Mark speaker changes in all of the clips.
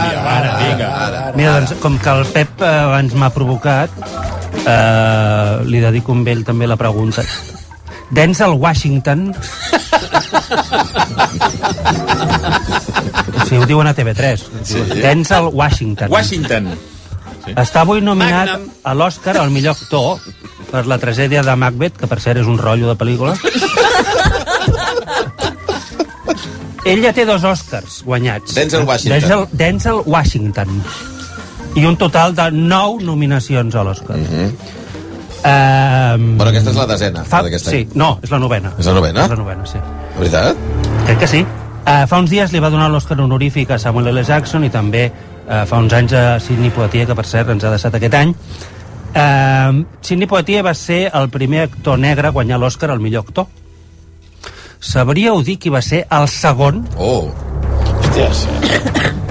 Speaker 1: Ara, vinga. Ara.
Speaker 2: Mira, doncs, com que el Pep eh, abans m'ha provocat, eh, li dedico amb ell també la pregunta. Denzel Washington... Si ho diuen a TV3. Sí. Denzel Washington.
Speaker 1: Washington.
Speaker 2: Està avui nominat
Speaker 1: Magnum.
Speaker 2: a l'Oscar al millor actor per la tragèdia de Macbeth, que per cert és un rotllo de pel·lícula. Ell ja té dos Oscars guanyats.
Speaker 3: Denzel Washington.
Speaker 2: Denzel, Denzel Washington. I un total de nou nominacions a l'Oscar. Mm -hmm. um,
Speaker 3: Mhm. Bueno, aquesta és la desena
Speaker 2: fa...
Speaker 3: d'aquest
Speaker 2: Sí,
Speaker 3: any.
Speaker 2: no, és la novena.
Speaker 3: És la novena?
Speaker 2: És la novena, sí.
Speaker 3: De veritat?
Speaker 2: Crec que sí. Uh, fa uns dies li va donar l'Oscar honorífic a Samuel L. Jackson i també uh, fa uns anys a Sidney Poitier, que per cert ens ha deixat aquest any. Uh, Sidney Poitier va ser el primer actor negre a guanyar l'Oscar al millor actor. Sabríeu dir qui va ser el segon?
Speaker 3: Oh.
Speaker 4: Hòsties.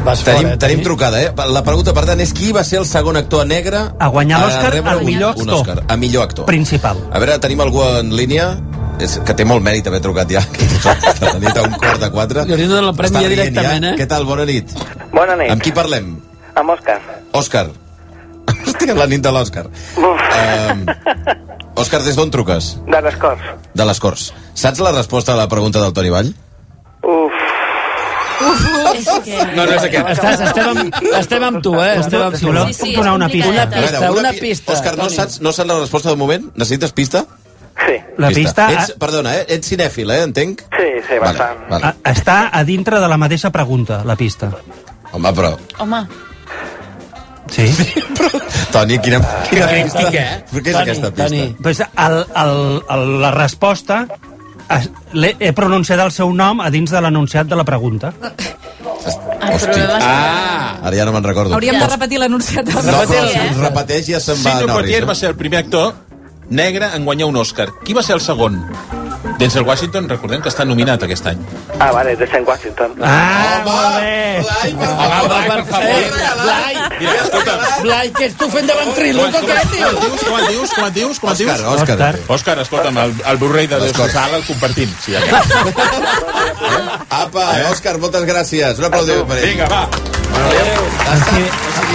Speaker 4: Vas fora,
Speaker 3: Tenim,
Speaker 4: eh,
Speaker 3: tenim
Speaker 4: Toni?
Speaker 3: trucada, eh? La pregunta, per tant, és qui va ser el segon actor negre
Speaker 2: A guanyar l'Oscar
Speaker 3: rebre
Speaker 2: al
Speaker 3: un-
Speaker 2: millor
Speaker 3: un
Speaker 2: actor.
Speaker 3: Oscar, a millor actor.
Speaker 2: Principal.
Speaker 3: A veure, tenim algú en línia? És que té molt mèrit haver trucat ja. aquesta nit a un quart de quatre.
Speaker 5: Li hauríem de donar el premi
Speaker 3: Està
Speaker 5: ja
Speaker 3: rient
Speaker 5: directament, eh?
Speaker 3: Què tal? Bona nit.
Speaker 6: Bona nit.
Speaker 3: Amb qui parlem?
Speaker 6: Amb Òscar.
Speaker 3: Òscar. Hòstia, la nit de l'Òscar.
Speaker 6: Uf,
Speaker 3: Um, Òscar, des d'on truques?
Speaker 6: de les Corts.
Speaker 3: De les Corts. Saps la resposta a la pregunta del Toni Vall?
Speaker 6: Uf.
Speaker 7: És que...
Speaker 1: No, no és aquest.
Speaker 5: Estàs, estem, amb, estem amb tu, eh? Estem amb
Speaker 2: Si
Speaker 5: tu.
Speaker 2: voleu,
Speaker 7: Sí, sí,
Speaker 2: puc
Speaker 7: és
Speaker 2: donar una
Speaker 7: complicat.
Speaker 2: pista.
Speaker 5: Una pista, una
Speaker 3: pi-
Speaker 5: pista,
Speaker 3: Òscar, no
Speaker 5: Toni.
Speaker 3: saps, no saps la resposta de moment? Necessites pista?
Speaker 6: Sí,
Speaker 2: La pista, ah.
Speaker 3: Ets, perdona, eh? Ets cinèfil, eh? Entenc?
Speaker 6: sí, sí, bastant.
Speaker 3: Vale,
Speaker 2: a,
Speaker 3: vale.
Speaker 2: a, està a dintre de la mateixa pregunta, la pista.
Speaker 3: Home, però...
Speaker 7: Home,
Speaker 2: Sí?
Speaker 3: Toni, quina... quina pista?
Speaker 5: Toni, eh?
Speaker 3: Però què és
Speaker 5: Toni,
Speaker 3: aquesta pista?
Speaker 5: Toni.
Speaker 2: Pues el, el, el, la resposta es- l'he- he pronunciat el seu nom a dins de l'anunciat de la pregunta.
Speaker 7: el
Speaker 3: Hosti.
Speaker 7: problema és...
Speaker 1: Ah!
Speaker 3: Ara ja no me'n recordo.
Speaker 8: Hauríem de
Speaker 3: Pots-
Speaker 8: repetir l'anunciat.
Speaker 3: No,
Speaker 7: Repetir,
Speaker 3: però
Speaker 7: eh?
Speaker 3: si us repeteix ja se'n va
Speaker 1: Sidney
Speaker 3: anar.
Speaker 1: Poitier va ser el primer actor negre en guanyar un Oscar. Qui va ser el segon? Denzel Washington, recordem que està nominat aquest any.
Speaker 6: Ah, vale, de Saint Washington.
Speaker 2: Ah,
Speaker 3: Home,
Speaker 2: molt bé!
Speaker 3: Blai, per
Speaker 5: Home,
Speaker 3: favor.
Speaker 5: per favor. Blai,
Speaker 1: Mira, escolta,
Speaker 5: Blai, què ets tu fent de
Speaker 1: com,
Speaker 5: ventriloco,
Speaker 1: com,
Speaker 5: què, tio?
Speaker 1: com, com et dius, com et dius, com et
Speaker 3: Òscar,
Speaker 1: dius, com et dius?
Speaker 3: Òscar.
Speaker 2: Òscar.
Speaker 1: Òscar, escolta'm, el, el Blu-ray de Déu
Speaker 3: Òscar.
Speaker 1: Sala el compartim. Sí, ja.
Speaker 3: Apa, eh, Òscar, moltes gràcies. Un aplaudiment per ell.
Speaker 1: Vinga, va.
Speaker 2: Sí,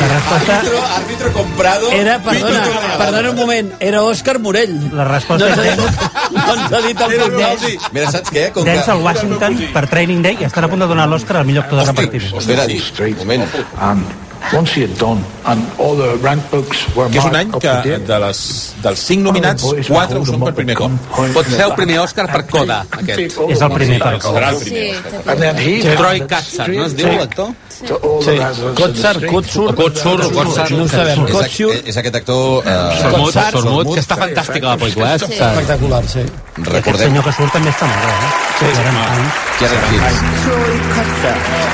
Speaker 2: la resposta,
Speaker 3: Arbitro, arbitro comprado.
Speaker 5: Era, perdona, perdona un moment, era Òscar Morell.
Speaker 2: la
Speaker 5: No
Speaker 2: resposta
Speaker 5: ens ha
Speaker 2: és
Speaker 5: dit, no ens ha dit el
Speaker 1: Era un
Speaker 5: cognom.
Speaker 1: Audi.
Speaker 3: Mira, saps què? Com
Speaker 2: Dance al Washington
Speaker 1: cosí.
Speaker 2: per Training Day i estan a punt de donar l'Òscar al millor actor de repartiment.
Speaker 3: Espera, un moment.
Speaker 9: And once he had done, and all the rank books were
Speaker 1: Que és un
Speaker 9: marked
Speaker 1: any
Speaker 9: up
Speaker 1: que
Speaker 9: to date,
Speaker 1: de les, dels cinc nominats, quatre ho són per primer cop.
Speaker 10: Pot ser el primer Òscar per Coda, aquest.
Speaker 2: És el primer per
Speaker 1: Serà el
Speaker 7: Sí,
Speaker 1: primer.
Speaker 7: té
Speaker 9: And then he
Speaker 10: Troy Kotsur, no es diu l'actor?
Speaker 9: to all the residents of the
Speaker 5: Kotsar,
Speaker 9: street.
Speaker 5: Kotsur,
Speaker 10: Kotsur, Kotsar.
Speaker 5: no ho sabem.
Speaker 3: És, ac-
Speaker 5: Kotsur,
Speaker 3: és aquest actor... Eh,
Speaker 10: Sormut,
Speaker 5: Kotsar.
Speaker 10: Sormut, que està fantàstica la pel·lícula, eh?
Speaker 5: espectacular, sí.
Speaker 2: Aquest
Speaker 3: recordem
Speaker 2: senyor que surt també està molt bé, eh? Sí,
Speaker 3: que era Fins.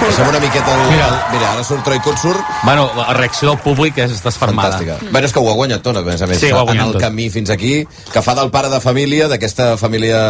Speaker 3: Passem una miqueta... Al... Mira. Mira, ara surt Troy Kotsur,
Speaker 10: Bueno, la reacció del públic és desfermada.
Speaker 3: Fantàstica. Bé, és que ho ha guanyat tot, a més a més.
Speaker 10: Sí, ho ha
Speaker 3: en
Speaker 10: guanyat
Speaker 3: el
Speaker 10: tot.
Speaker 3: camí fins aquí, que fa del pare de família, d'aquesta família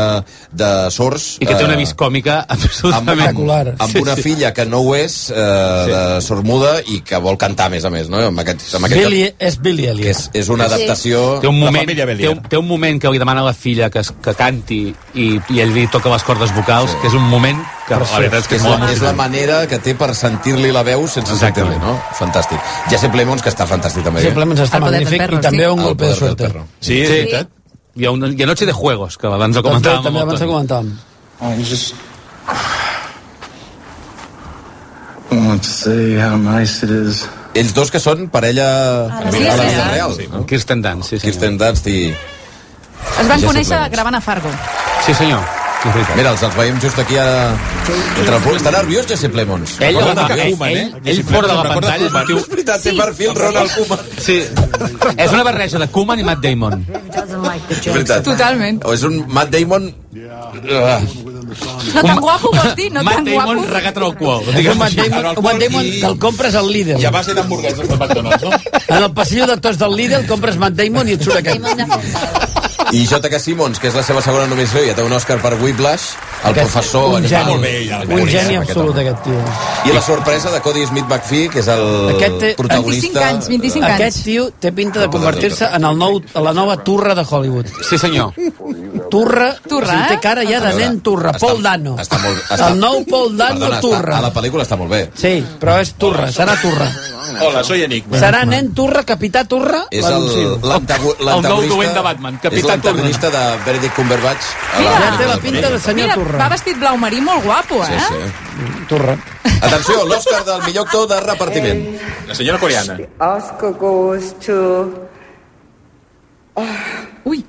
Speaker 3: de sords...
Speaker 10: I que té una
Speaker 3: eh,
Speaker 10: vis còmica
Speaker 3: amb, amb,
Speaker 10: absolutament...
Speaker 3: amb una filla que no ho és, eh, de sormuda, i que vol cantar, a més a més, no? Amb aquest, amb aquest
Speaker 5: Billy, és Billy
Speaker 3: que
Speaker 5: Elliot.
Speaker 3: és, és una adaptació...
Speaker 10: Té un,
Speaker 1: La
Speaker 10: moment,
Speaker 1: família
Speaker 10: té, un,
Speaker 1: Belier.
Speaker 10: té un moment que li demana a la filla que, es- que canti i, i ell li toca les cordes vocals, que és un moment que la veritat és que
Speaker 3: Que és,
Speaker 10: és molt
Speaker 3: la, és la
Speaker 10: emocionant.
Speaker 3: manera que té per sentir-li la veu sense
Speaker 10: Exactament.
Speaker 3: sentir-li, no? Fantàstic. Ja sé Plemons, que està fantàstic també. eh?
Speaker 5: Simplement està
Speaker 8: El poder del
Speaker 5: magnífic
Speaker 8: perro,
Speaker 5: i també
Speaker 8: sí.
Speaker 5: un
Speaker 3: El
Speaker 5: golpe
Speaker 3: poder
Speaker 5: de
Speaker 3: del
Speaker 5: suerte.
Speaker 3: perro.
Speaker 1: Sí, és veritat.
Speaker 10: Hi ha, una, hi ha Noche de Juegos, que abans ho
Speaker 5: També,
Speaker 10: comentàvem.
Speaker 5: també
Speaker 10: amb el
Speaker 5: abans ho
Speaker 10: Toni.
Speaker 5: comentàvem.
Speaker 9: I just want to say how nice it is.
Speaker 3: Ells dos que són parella
Speaker 10: Ah,
Speaker 7: la
Speaker 3: a
Speaker 7: vida
Speaker 3: la vida
Speaker 7: real.
Speaker 3: real.
Speaker 10: Amb Kirsten Dunst, sí senyor.
Speaker 3: Kirsten Dunst i...
Speaker 8: Es van
Speaker 3: Ja sé
Speaker 8: conèixer
Speaker 3: Clemens.
Speaker 8: gravant a Fargo.
Speaker 10: Sí senyor, és veritat.
Speaker 3: Mira, els, els veiem just aquí a... Entre el públic. Està nerviós, Jesse Plemons.
Speaker 10: Ell,
Speaker 1: Recorda
Speaker 10: home,
Speaker 1: que
Speaker 10: ell,
Speaker 1: Koeman,
Speaker 10: ell,
Speaker 1: eh?
Speaker 10: ell fora de la
Speaker 1: Recorda
Speaker 10: pantalla és un tio...
Speaker 3: És veritat, té perfil Ronald Koeman.
Speaker 10: Sí. És una barreja de Koeman i Matt Damon.
Speaker 3: És veritat.
Speaker 8: Totalment.
Speaker 3: O és un Matt Damon... Ah,
Speaker 8: No tan guapo, vols dir? No
Speaker 10: Matt
Speaker 8: tan
Speaker 10: Damon
Speaker 8: guapo?
Speaker 10: regat en el cul.
Speaker 5: És un
Speaker 10: Digue'm així.
Speaker 5: Matt Damon,
Speaker 1: Harold
Speaker 5: un Matt Damon
Speaker 1: Ford i-
Speaker 5: que el compres al Lidl.
Speaker 1: I a base d'hamburgueses del McDonald's, no?
Speaker 5: En el passillo de tots del Lidl compres Matt Damon i et surt aquest.
Speaker 7: Damon de Fontada.
Speaker 3: I J.K. Simmons, que és la seva segona nominació, ja té un Òscar per Whiplash, el
Speaker 5: Aquest-
Speaker 3: professor...
Speaker 5: un
Speaker 3: aquest
Speaker 5: geni,
Speaker 3: home.
Speaker 1: ja el
Speaker 5: un
Speaker 1: veurem,
Speaker 5: geni
Speaker 3: Boníssim, aquest
Speaker 5: absolut,
Speaker 3: home.
Speaker 5: aquest tio.
Speaker 3: I la sorpresa de Cody Smith McPhee, que és el
Speaker 5: Aquest té-
Speaker 3: protagonista...
Speaker 8: 25 anys, 25 anys.
Speaker 5: Aquest tio té pinta de convertir-se en el nou, en la nova turra de Hollywood.
Speaker 10: Sí, senyor.
Speaker 5: Turra,
Speaker 8: Turra,
Speaker 5: o sigui, té
Speaker 8: eh?
Speaker 5: cara ja de
Speaker 3: A veure,
Speaker 5: nen turra,
Speaker 3: està-
Speaker 5: Paul Dano.
Speaker 3: està molt- està-
Speaker 5: El nou Paul Dano
Speaker 3: Perdona, està-
Speaker 5: turra.
Speaker 3: a la pel·lícula està molt bé.
Speaker 5: Sí, però és turra, serà turra.
Speaker 1: Hola, soy Enigma.
Speaker 5: Serà nen turra, capità turra,
Speaker 3: És el,
Speaker 5: l'anuncio.
Speaker 3: l'antago-
Speaker 10: El nou
Speaker 3: l'antagonista-
Speaker 10: dolent de Batman, Capità
Speaker 3: És l'antagonista de Benedict Cumberbatch. a Ah, la-
Speaker 8: Mira,
Speaker 5: Ja té la pinta de senyor
Speaker 8: Mira,
Speaker 5: Turra.
Speaker 8: va vestit blau marí molt guapo, eh?
Speaker 3: Sí, sí.
Speaker 5: Turra.
Speaker 3: Atenció, l'Òscar del millor actor de repartiment.
Speaker 1: La senyora coreana.
Speaker 11: Oscar goes to Ah.
Speaker 8: Ui,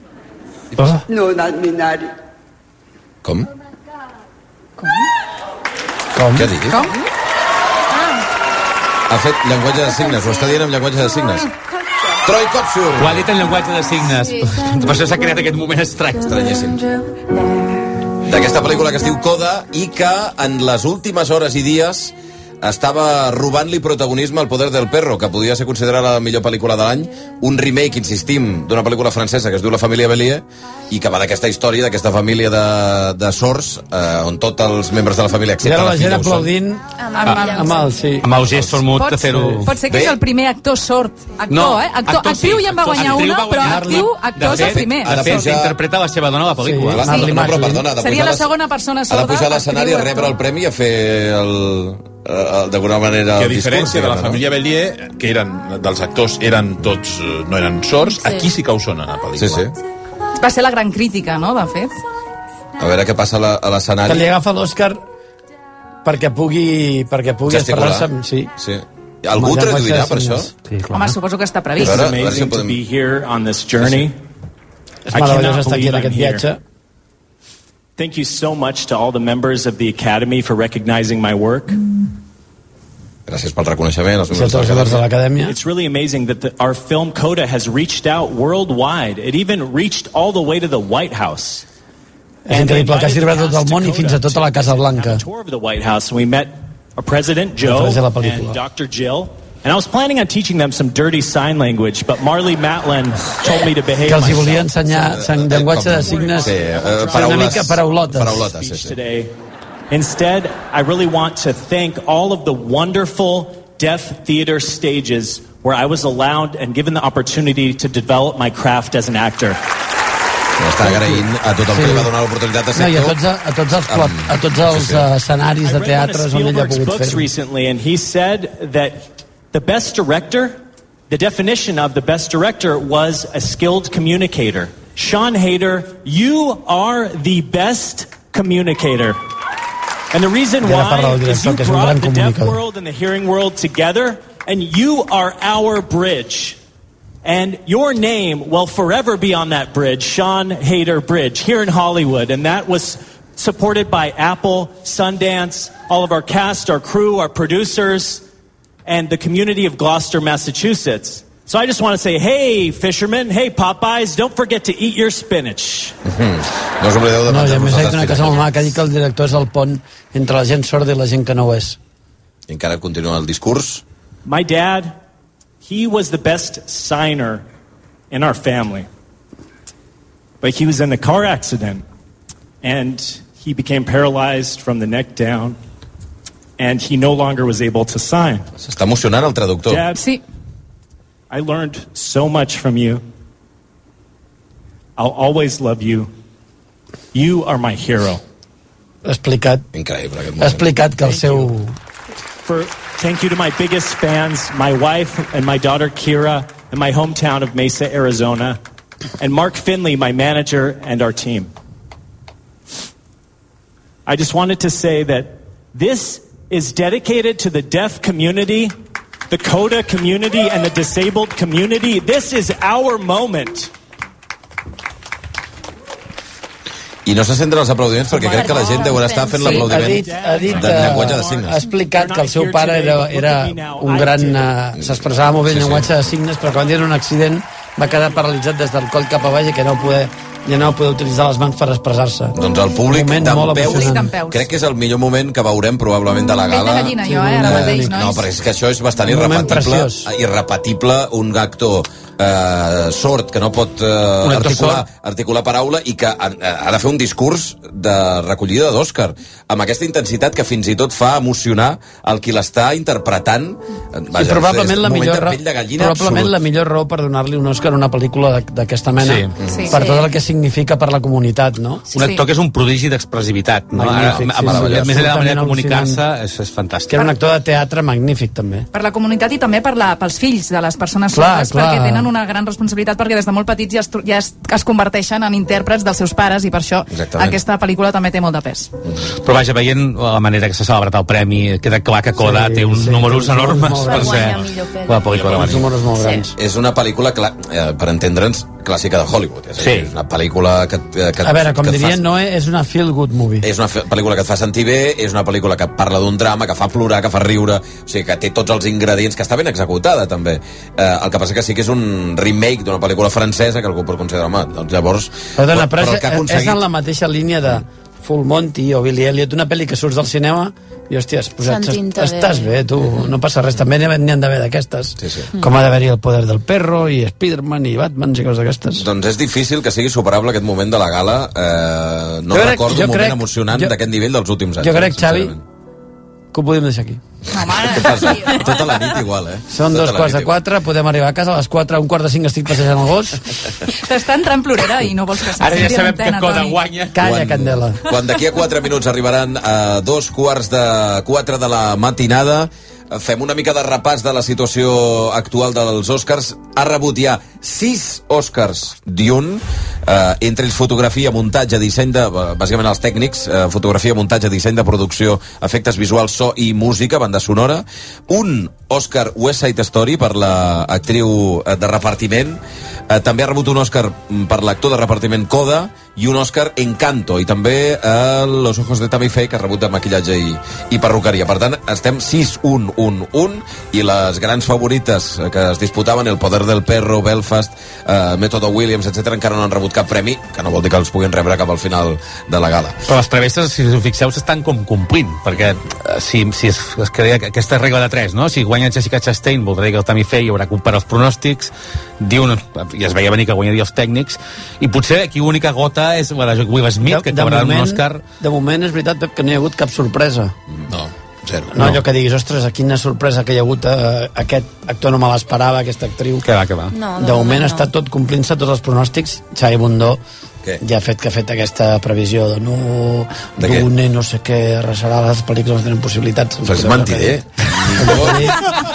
Speaker 12: Ah.
Speaker 2: Oh,
Speaker 11: no, not Minari.
Speaker 3: Com? Com? Què ha dit? Com? Ha fet llenguatge de signes, ho està dient amb llenguatge de signes. Troy
Speaker 10: Ho
Speaker 3: Copsur!
Speaker 10: ha dit en llenguatge de
Speaker 12: Ah,
Speaker 10: signes. Per això s'ha creat aquest moment estrany.
Speaker 3: Estranyíssim. D'aquesta pel·lícula que es diu Coda i que en les últimes hores i dies estava robant-li protagonisme al Poder del Perro, que podia ser considerada la millor pel·lícula de l'any, un remake, insistim, d'una pel·lícula francesa que es diu La família Bélier, i que va d'aquesta història, d'aquesta família de, de sords, eh, on tots els membres de la família,
Speaker 5: Mira
Speaker 3: excepte
Speaker 5: la gent
Speaker 3: filla, ho són.
Speaker 5: aplaudint amb el, sí.
Speaker 10: Amb el gest sormut de
Speaker 8: pot,
Speaker 10: fer-ho...
Speaker 8: pot ser que
Speaker 3: Ah, Bé.
Speaker 8: és el primer actor sort. Actor,
Speaker 10: No,
Speaker 8: eh? Actor,
Speaker 10: actor sí,
Speaker 8: actriu ja en va
Speaker 10: actor sí.
Speaker 8: guanyar
Speaker 10: Actriu
Speaker 8: una,
Speaker 10: va
Speaker 8: però
Speaker 10: guanyar-la.
Speaker 8: actiu,
Speaker 10: De
Speaker 8: actor és
Speaker 10: fet,
Speaker 8: el primer.
Speaker 10: De fet,
Speaker 3: pujar-
Speaker 10: interpreta la seva dona a la pel·lícula.
Speaker 5: Sí.
Speaker 3: Clar,
Speaker 5: Marley
Speaker 3: no, però
Speaker 5: Marley.
Speaker 3: perdona, ha de
Speaker 8: Seria
Speaker 3: pujar
Speaker 8: la
Speaker 3: a l'es-
Speaker 8: segona persona
Speaker 3: Ha de
Speaker 8: sorda,
Speaker 3: pujar a l'escenari, a
Speaker 8: actriu,
Speaker 3: rebre
Speaker 8: actor.
Speaker 3: el premi i a fer el... el- el- d'alguna manera...
Speaker 1: Que a
Speaker 3: el discurs,
Speaker 1: diferència de la
Speaker 3: no?
Speaker 1: família Bellier, que eren dels actors eren tots, eh, no eren sords, aquí sí que ho sonen a la
Speaker 3: Sí,
Speaker 1: pel·lícula.
Speaker 3: sí.
Speaker 8: Va ser la gran crítica, no?, de fet.
Speaker 3: A veure què passa a la- a
Speaker 5: Que li
Speaker 3: l'escenari.
Speaker 5: agafa l'Òscar perquè pugui, perquè pugui
Speaker 3: Gesticular.
Speaker 5: esperar-se amb... Sí.
Speaker 3: Sí. Algú
Speaker 5: Amb el
Speaker 3: traduirà
Speaker 5: llenguatge de
Speaker 3: per això?
Speaker 5: signes.
Speaker 2: sí, clar.
Speaker 8: Home, suposo que està
Speaker 3: A
Speaker 8: previst.
Speaker 3: veure, a veure si ho podem...
Speaker 9: here on this journey.
Speaker 5: És meravellós estar aquí en aquest viatge.
Speaker 9: Thank you so much to all the members of the Academy for recognizing my work.
Speaker 3: Gràcies pel reconeixement. Els
Speaker 5: Si
Speaker 3: membres
Speaker 5: els membres de
Speaker 3: de la
Speaker 5: l'acadèmia.
Speaker 9: It's really amazing that the, our film Coda has reached out worldwide. It even reached all the way to the White House.
Speaker 5: És increïble que sirva a tot el món i fins a tota la Casa Blanca.
Speaker 9: A tour of the White House, and we met our President Joe
Speaker 5: Després de la
Speaker 9: and
Speaker 5: pel·lícula.
Speaker 9: Dr. Jill. And I was planning on teaching them some dirty sign language, but Marley Matlin told me to behave
Speaker 5: Que els hi
Speaker 9: myself.
Speaker 5: volia ensenyar sang, llenguatge de signes
Speaker 3: Sí, eh,
Speaker 5: una
Speaker 3: paraules-
Speaker 5: mica paraulotes.
Speaker 3: paraulotes.
Speaker 9: speech
Speaker 3: sí.
Speaker 9: today. Instead, I really want to thank all of the wonderful deaf theater stages where I was allowed and given the opportunity to develop my craft as an actor.
Speaker 3: Està agraint a tothom que
Speaker 5: Sí.
Speaker 3: li va donar l'oportunitat de
Speaker 5: No,
Speaker 3: ser
Speaker 5: i a
Speaker 3: actor.
Speaker 5: tots, a tots els, pla-
Speaker 3: Amb-
Speaker 5: a tots
Speaker 3: sí,
Speaker 5: els
Speaker 3: sí.
Speaker 5: eh, escenaris
Speaker 9: I
Speaker 5: de
Speaker 9: read
Speaker 5: teatres
Speaker 9: one
Speaker 5: on
Speaker 9: of
Speaker 5: ell ha
Speaker 9: Spielberg's
Speaker 5: pogut
Speaker 9: books
Speaker 5: fer
Speaker 9: recently, and he said that the best director, the definition of the best director was a skilled communicator. Sean Hayter, you are the best communicator. And the reason
Speaker 5: Ja la parla el
Speaker 9: why is
Speaker 5: director,
Speaker 9: you
Speaker 5: que és un
Speaker 9: brought the
Speaker 5: gran
Speaker 9: deaf
Speaker 5: comunicador.
Speaker 9: world and the hearing world together, and you are our bridge. And your name will forever be on that bridge, Sean Hayter Bridge, here in Hollywood. And that was supported by Apple, Sundance, all of our cast, our crew, our producers, and the community of Gloucester, Massachusetts. So I just want to say, hey, fishermen, hey, Popeyes, don't forget to eat your spinach.
Speaker 3: No us oblideu de
Speaker 5: No, i a
Speaker 3: menjar-vos
Speaker 5: més ha
Speaker 3: els
Speaker 5: dit una cosa molt maca, ha dit que el director és el pont entre la gent sorda i la gent que no ho és.
Speaker 3: I encara continua el discurs.
Speaker 9: My dad, he was the best signer in our family. But he was in a car accident and he became paralyzed from the neck down and he no longer was able to sign.
Speaker 3: S'està emocionant el traductor.
Speaker 9: Dad,
Speaker 8: Sí,
Speaker 9: I learned so much from you. I'll always love you. You are my hero.
Speaker 5: Ha explicat,
Speaker 3: Increïble aquest
Speaker 5: ha
Speaker 3: moment.
Speaker 5: explicat que el seu...
Speaker 9: For thank you to my biggest fans, my wife and my daughter Kira, and my hometown of Mesa, Arizona, and Mark Finley, my manager, and our team. I just wanted to say that this is dedicated to the deaf community, the CODA community, and the disabled community. This is our moment.
Speaker 3: I no se senten els aplaudiments perquè crec que la gent deurà estar fent
Speaker 7: Sí,
Speaker 5: Ha
Speaker 3: l'aplaudiment
Speaker 5: dit, ha dit,
Speaker 3: de llenguatge de
Speaker 5: eh, ha
Speaker 3: signes.
Speaker 5: explicat que el seu pare era, era un gran... eh, S'expressava molt bé
Speaker 3: Sí,
Speaker 5: en
Speaker 3: sí.
Speaker 5: llenguatge de signes, però quan tenia un accident va quedar paralitzat des del coll cap avall i que no, poder, ja no poder utilitzar les mans per expressar-se.
Speaker 3: Doncs el públic
Speaker 5: Moment molt
Speaker 8: emocionant. Sí,
Speaker 3: d'empeus,
Speaker 8: d'empeus.
Speaker 3: crec que és el millor moment que veurem probablement de la
Speaker 8: Pell de
Speaker 3: gala.
Speaker 8: gallina, jo, eh, ara mateix, nois.
Speaker 3: No, perquè és que això és bastant
Speaker 5: Un moment
Speaker 3: irrepetible,
Speaker 5: preciós.
Speaker 3: irrepetible un actor eh, sord que no pot eh,
Speaker 5: Un actor
Speaker 3: articular,
Speaker 5: sord.
Speaker 3: articular paraula i que ha, eh, ha de fer un discurs de recollida d'Òscar amb aquesta intensitat que fins i tot fa emocionar el qui l'està interpretant. Eh, Vaja,
Speaker 5: I probablement
Speaker 3: és
Speaker 5: la
Speaker 3: un moment
Speaker 5: millor,
Speaker 3: de
Speaker 5: raó,
Speaker 3: pell de gallina
Speaker 5: probablement
Speaker 3: absolut.
Speaker 5: la millor raó per donar-li un Òscar a una pel·lícula d'ac- d'aquesta mena,
Speaker 10: Sí.
Speaker 5: sí.
Speaker 10: Sí.
Speaker 5: per
Speaker 10: Sí.
Speaker 5: tot el que significa per la comunitat, no?
Speaker 10: Un actor que és un prodigi d'expressivitat. No? Ara,
Speaker 5: Magnífic, sí,
Speaker 10: amb la,
Speaker 5: sí,
Speaker 10: més enllà de la manera de
Speaker 5: absolutament
Speaker 10: comunicar-se, és, és fantàstic.
Speaker 5: Que era un actor de teatre magnífic, també.
Speaker 8: Per la comunitat i també per la, pels fills de les persones
Speaker 5: Clar,
Speaker 8: sordes,
Speaker 5: clar.
Speaker 8: perquè tenen una gran responsabilitat, perquè des de molt petits ja es, tro- ja es, es converteixen en intèrprets dels seus pares i per això
Speaker 10: Exactament.
Speaker 8: aquesta pel·lícula també té molt de pes.
Speaker 10: Però vaja, veient la manera que s'ha celebrat el premi, queda clar que Coda sí, té uns
Speaker 3: sí,
Speaker 10: sí, números
Speaker 3: té uns números
Speaker 10: enormes
Speaker 3: molt
Speaker 10: per
Speaker 3: grans.
Speaker 10: ser
Speaker 3: Guanya millor pel·li.
Speaker 10: la pel·lícula de l'any.
Speaker 5: números molt grans.
Speaker 3: És una pel·lícula, cla- eh, per entendre'ns, clàssica de Hollywood. És, sí. és una pel·lícula que, eh, que
Speaker 5: A veure, com
Speaker 3: que et
Speaker 5: diria
Speaker 3: fa-
Speaker 5: Noé, és una feel-good movie.
Speaker 3: És una fe- pel·lícula que et fa sentir bé, és una pel·lícula que parla d'un drama, que fa plorar, que fa riure, o sigui, que té tots els ingredients, que està ben executada, també. Eh, el que passa que sí que és un remake d'una pel·lícula francesa, que algú pot considerar, home, doncs llavors...
Speaker 5: Perdona, però,
Speaker 3: el que ha
Speaker 5: és, és
Speaker 3: aconseguit...
Speaker 5: en la mateixa línia de Full Monty o Billy Elliot, una pel·li que surts del cinema i, hòsties, pues, et-
Speaker 13: S'entinta bé.
Speaker 5: estàs bé, tu, no passa res. També n'hi ha- n'hi han d'haver d'aquestes. Sí, sí.
Speaker 3: Mm.
Speaker 5: Com ha d'haver-hi el poder del perro i Spiderman i Batman i coses d'aquestes.
Speaker 3: Doncs és difícil que sigui superable aquest moment de la gala. Eh, no
Speaker 5: Jo crec-
Speaker 3: recordo
Speaker 5: jo
Speaker 3: un moment
Speaker 5: crec-
Speaker 3: emocionant
Speaker 5: jo-
Speaker 3: d'aquest nivell dels últims anys. eh,
Speaker 5: Jo crec, Xavi,
Speaker 3: sincerament.
Speaker 5: que ho podem deixar aquí.
Speaker 3: Què passa? Tota la nit igual, eh?
Speaker 5: Són
Speaker 3: Tota
Speaker 5: dos
Speaker 3: la
Speaker 5: quarts
Speaker 3: nit
Speaker 5: de quatre, podem arribar a casa a les quatre, a un quart de cinc estic passejant el gos.
Speaker 8: T'està entrant plorera i no vols que se
Speaker 5: Ara ja
Speaker 8: senti
Speaker 5: sabem
Speaker 8: l'antena,
Speaker 5: que Coda
Speaker 8: Toni.
Speaker 5: guanya. Calla, Candela.
Speaker 3: Quan d'aquí a 4 minuts arribaran a dos quarts de 4 de la matinada, eh, fem una mica de repàs de la situació actual dels Oscars. Ha rebut ja 6 Oscars d'un, eh, entre ells fotografia, muntatge, disseny de... eh, Bàsicament els tècnics, eh, fotografia, muntatge, disseny de producció, efectes visuals, so i música, banda sonora. Un Oscar West Side Story per l'actriu eh, de repartiment. Eh, també ha rebut un Oscar mm, per l'actor de repartiment Coda i un Òscar Encanto i també eh, Los Ojos de Tammy Faye que ha rebut de maquillatge i, i perruqueria per tant estem 6-1-1-1 i les grans favorites eh, que es disputaven El Poder del Perro, Belfast eh, Método Williams, etc encara no han rebut cap premi que no vol dir que els puguin rebre cap al final de la gala
Speaker 10: Però les travesses, si us ho fixeu, s'estan com complint, perquè eh, si, si es, es crea que- aquesta regla de 3, no? Si guanya Jessica Chastain, voldrà dir que el Tammy Faye haurà comparat els pronòstics, diu, i es veia venir que guanyaria els tècnics, i potser aquí l'única gota és la de Will Smith, que acabarà amb un Òscar...
Speaker 5: de moment és veritat, Pep, que no hi ha hagut cap sorpresa.
Speaker 3: No, zero.
Speaker 5: No, no. allò que diguis, ostres, a quina sorpresa que hi ha hagut, eh, aquest actor no me l'esperava, aquesta actriu.
Speaker 10: Que va, que va. No,
Speaker 5: No, de,
Speaker 10: de
Speaker 5: de moment
Speaker 10: moment no.
Speaker 5: està tot complint-se tots els pronòstics. Xavi Bundó què? ja ha fet que ha fet aquesta previsió de no,
Speaker 3: De què?
Speaker 5: Dune, no sé què, arrasarà les pel·lícules, no tenen possibilitats.
Speaker 3: Però és mentider.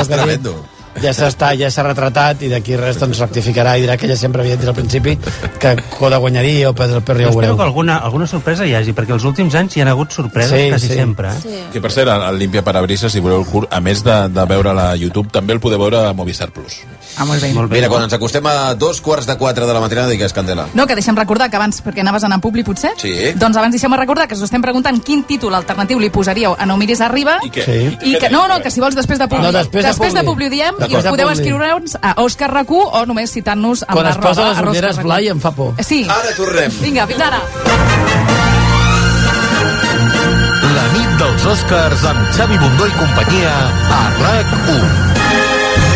Speaker 3: és
Speaker 5: que ha dit.
Speaker 3: tremendo
Speaker 5: Ja s'està, ja s'ha retratat i d'aquí res doncs rectificarà i dirà que ja sempre havia dit al principi que Coda guanyaria o Pedro el Perro ja
Speaker 2: Jo
Speaker 5: ho
Speaker 2: espero
Speaker 5: veureu.
Speaker 2: que alguna, alguna sorpresa hi hagi, perquè els últims anys hi ha hagut sorpreses
Speaker 5: Sí,
Speaker 2: quasi
Speaker 5: sí.
Speaker 2: sempre. Eh?
Speaker 1: Que per cert, el, el Limpia Parabrises, si voleu el curt, a més de, de veure-la a YouTube, també el podeu veure a Movistar Plus.
Speaker 8: Ah, molt bé.
Speaker 2: Molt
Speaker 3: Mira, quan ens acostem a dos quarts de quatre de la matinada digues Candela
Speaker 8: No, que deixem recordar que abans, perquè anaves a anar a Publi, potser?
Speaker 3: Sí.
Speaker 8: Doncs abans deixem recordar que us estem preguntant quin títol alternatiu li posaríeu a No miris arriba.
Speaker 5: I què? Ah. Sí.
Speaker 8: I que, no, no, que si vols després de Publi.
Speaker 5: No, després de
Speaker 8: després de
Speaker 5: Publi.
Speaker 8: Publi ho diem i
Speaker 5: D'acord.
Speaker 8: us podeu
Speaker 5: Publi.
Speaker 8: escriure'ns a Òscar Racú o només citant-nos amb
Speaker 5: Quan es
Speaker 8: l'arroba
Speaker 5: posa les
Speaker 8: arroba
Speaker 5: ulleres
Speaker 8: Òscar
Speaker 5: blai em fa por.
Speaker 8: Racú. Sí.
Speaker 3: Ara tornem.
Speaker 8: Vinga, fins ara.
Speaker 14: La nit dels Oscars amb Xavi Bundó i companyia a RAC1.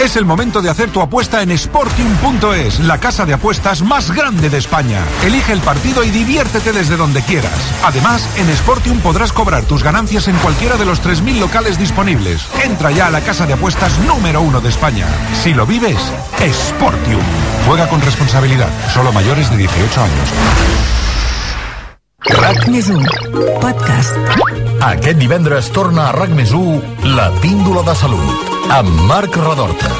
Speaker 15: Es el momento de hacer tu apuesta en Sportium.es, la casa de apuestas más grande de España. Elige el partido y diviértete desde donde quieras. Además, en Sportium podrás cobrar tus ganancias en cualquiera de los 3.000 locales disponibles. Entra ya a la casa de apuestas número uno de España. Si lo vives, Sportium. Juega con responsabilidad, solo mayores de 18 años.
Speaker 14: RAC més 1, podcast. Aquest divendres torna a RAC més 1 la píndola de salut, amb Marc Radorta.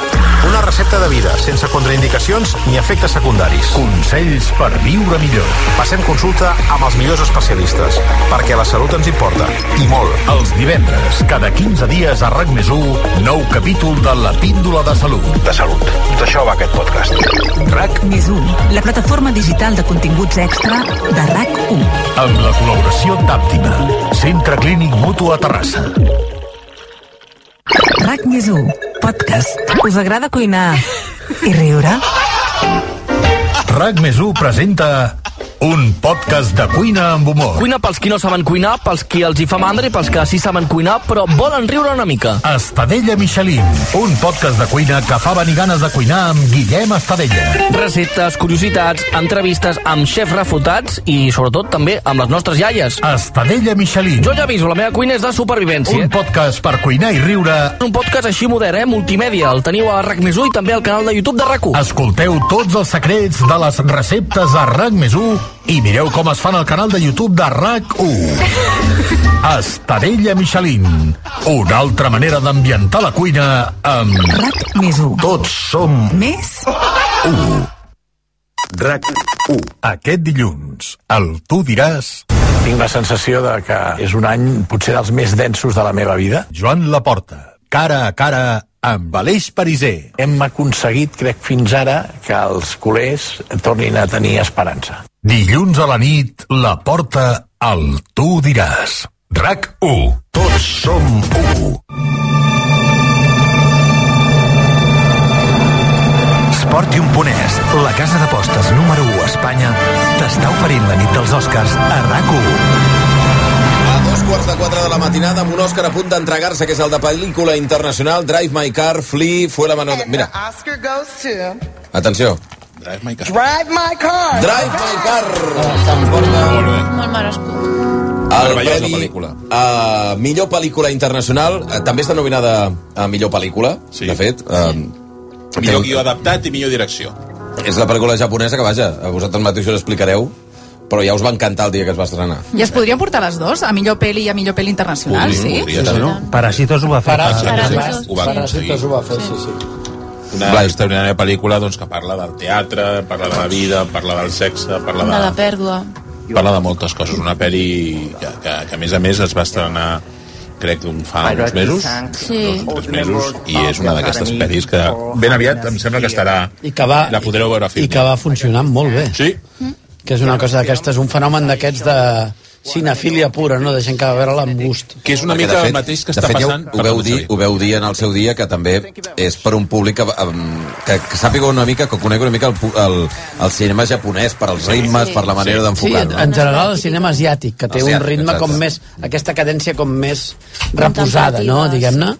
Speaker 14: Una recepta de vida, sense contraindicacions ni efectes secundaris. Consells per viure millor. Passem consulta amb els millors especialistes, perquè la salut ens importa, i molt. Els divendres, cada 15 dies a RAC més 1, nou capítol de la píndola de salut. De salut. D'això va aquest podcast. RAC
Speaker 16: Més 1, la plataforma digital de continguts extra de RAC1.
Speaker 14: amb la col·laboració d'Àptima, Centre Clínic Mutu a Terrassa.
Speaker 16: RAC més 1, podcast. Us agrada cuinar i riure?
Speaker 14: RAC més 1 presenta un podcast de cuina amb humor.
Speaker 13: Cuina pels qui no saben cuinar, pels qui els hi fa mandra i pels que sí saben cuinar, però volen riure una mica.
Speaker 14: Estadella Michelin, un podcast de cuina que fa venir ganes de cuinar amb Guillem Estadella.
Speaker 13: Receptes, curiositats, entrevistes amb xefs refutats i, sobretot, també amb les nostres iaies.
Speaker 14: Estadella Michelin.
Speaker 13: Jo ja aviso, la meva cuina és de supervivència.
Speaker 14: Un podcast per cuinar i riure.
Speaker 13: Un podcast així modern, eh? Multimèdia. El teniu a RAC més i també al canal de YouTube de rac
Speaker 14: Escolteu tots els secrets de les receptes a RAC més 1 i mireu com es fan al canal de YouTube de RAC 1. Estadella Michelin, una altra manera d'ambientar la cuina amb...
Speaker 16: RAC més 1.
Speaker 14: Tots som...
Speaker 16: Més?
Speaker 14: 1. RAC 1. Aquest dilluns, el Tu diràs...
Speaker 17: Tinc la sensació de que és un any potser dels més densos de la meva vida.
Speaker 14: Joan Laporta, cara a cara amb Aleix Pariser.
Speaker 17: Hem aconseguit, crec, fins ara, que els culers tornin a tenir esperança.
Speaker 14: Dilluns a la nit, la porta al Tu diràs. RAC 1. Tots som 1.
Speaker 18: Sportium Ponès, la casa d'apostes número 1 a Espanya, t'està oferint la nit dels Oscars a RAC1.
Speaker 3: A dos quarts de quatre de la matinada amb un Òscar a punt d'entregar-se, que és el de pel·lícula internacional Drive My Car, Flea, Fue la mano... De... Mira,
Speaker 12: Oscar goes to
Speaker 3: atenció.
Speaker 1: Drive My
Speaker 12: Drive My Car.
Speaker 3: Drive My Car. S'emporta
Speaker 7: Molt merescut.
Speaker 3: el
Speaker 1: Meravellosa
Speaker 3: premi
Speaker 1: pel·lícula.
Speaker 3: a millor pel·lícula internacional. Eh, També està nominada a millor pel·lícula, sí. de fet. Sí.
Speaker 1: Millor guió adaptat i millor direcció.
Speaker 3: És la pel·lícula japonesa que, vaja, a vosaltres mateixos explicareu, però ja us va encantar el dia que es va estrenar.
Speaker 8: I es podrien portar les dues, a millor peli i a millor peli internacional,
Speaker 3: Podríem,
Speaker 8: sí?
Speaker 3: podríem.
Speaker 8: sí, sí.
Speaker 2: No? Parasitos ho va fer.
Speaker 5: eh?
Speaker 8: Parasitos.
Speaker 1: Ho va aconseguir.
Speaker 5: Parasitos ho va fer, sí, sí.
Speaker 1: Una Blai. extraordinària pel·lícula doncs, que parla del teatre, parla de la vida, parla del sexe, parla de,
Speaker 7: De la pèrdua.
Speaker 1: parla de moltes coses. Una pel·li que, que, que, a més a més es va estrenar crec un fa uns Ah, mesos,
Speaker 7: Sí.
Speaker 1: tres mesos, i és una d'aquestes pel·lis que ben aviat em sembla que estarà...
Speaker 5: I que va,
Speaker 1: La podreu veure a
Speaker 5: i
Speaker 1: film.
Speaker 5: que va funcionar molt bé.
Speaker 1: Sí.
Speaker 5: Que és una cosa d'aquestes, un fenomen d'aquests de cinefília pura, no? De gent que va veure-la amb gust.
Speaker 1: Que és una
Speaker 3: Perquè,
Speaker 1: mica
Speaker 3: de
Speaker 1: el mateix que
Speaker 3: de
Speaker 1: està
Speaker 3: fet, ja
Speaker 1: passant-
Speaker 3: Ho, ho, veu
Speaker 1: Perdona,
Speaker 3: dir,
Speaker 1: Xavi.
Speaker 3: ho veu dir en el seu dia, que també és per un públic que, em, que, que sàpiga una mica, que conegui una mica el, pu- el, el cinema japonès, per els ritmes, per la manera
Speaker 5: Sí,
Speaker 3: d'enfocar-ho.
Speaker 5: en general el cinema asiàtic, que té un
Speaker 3: Asiàtic,
Speaker 5: ritme com
Speaker 3: exacte.
Speaker 5: més... Aquesta cadència com més reposada, no? Diguem-ne.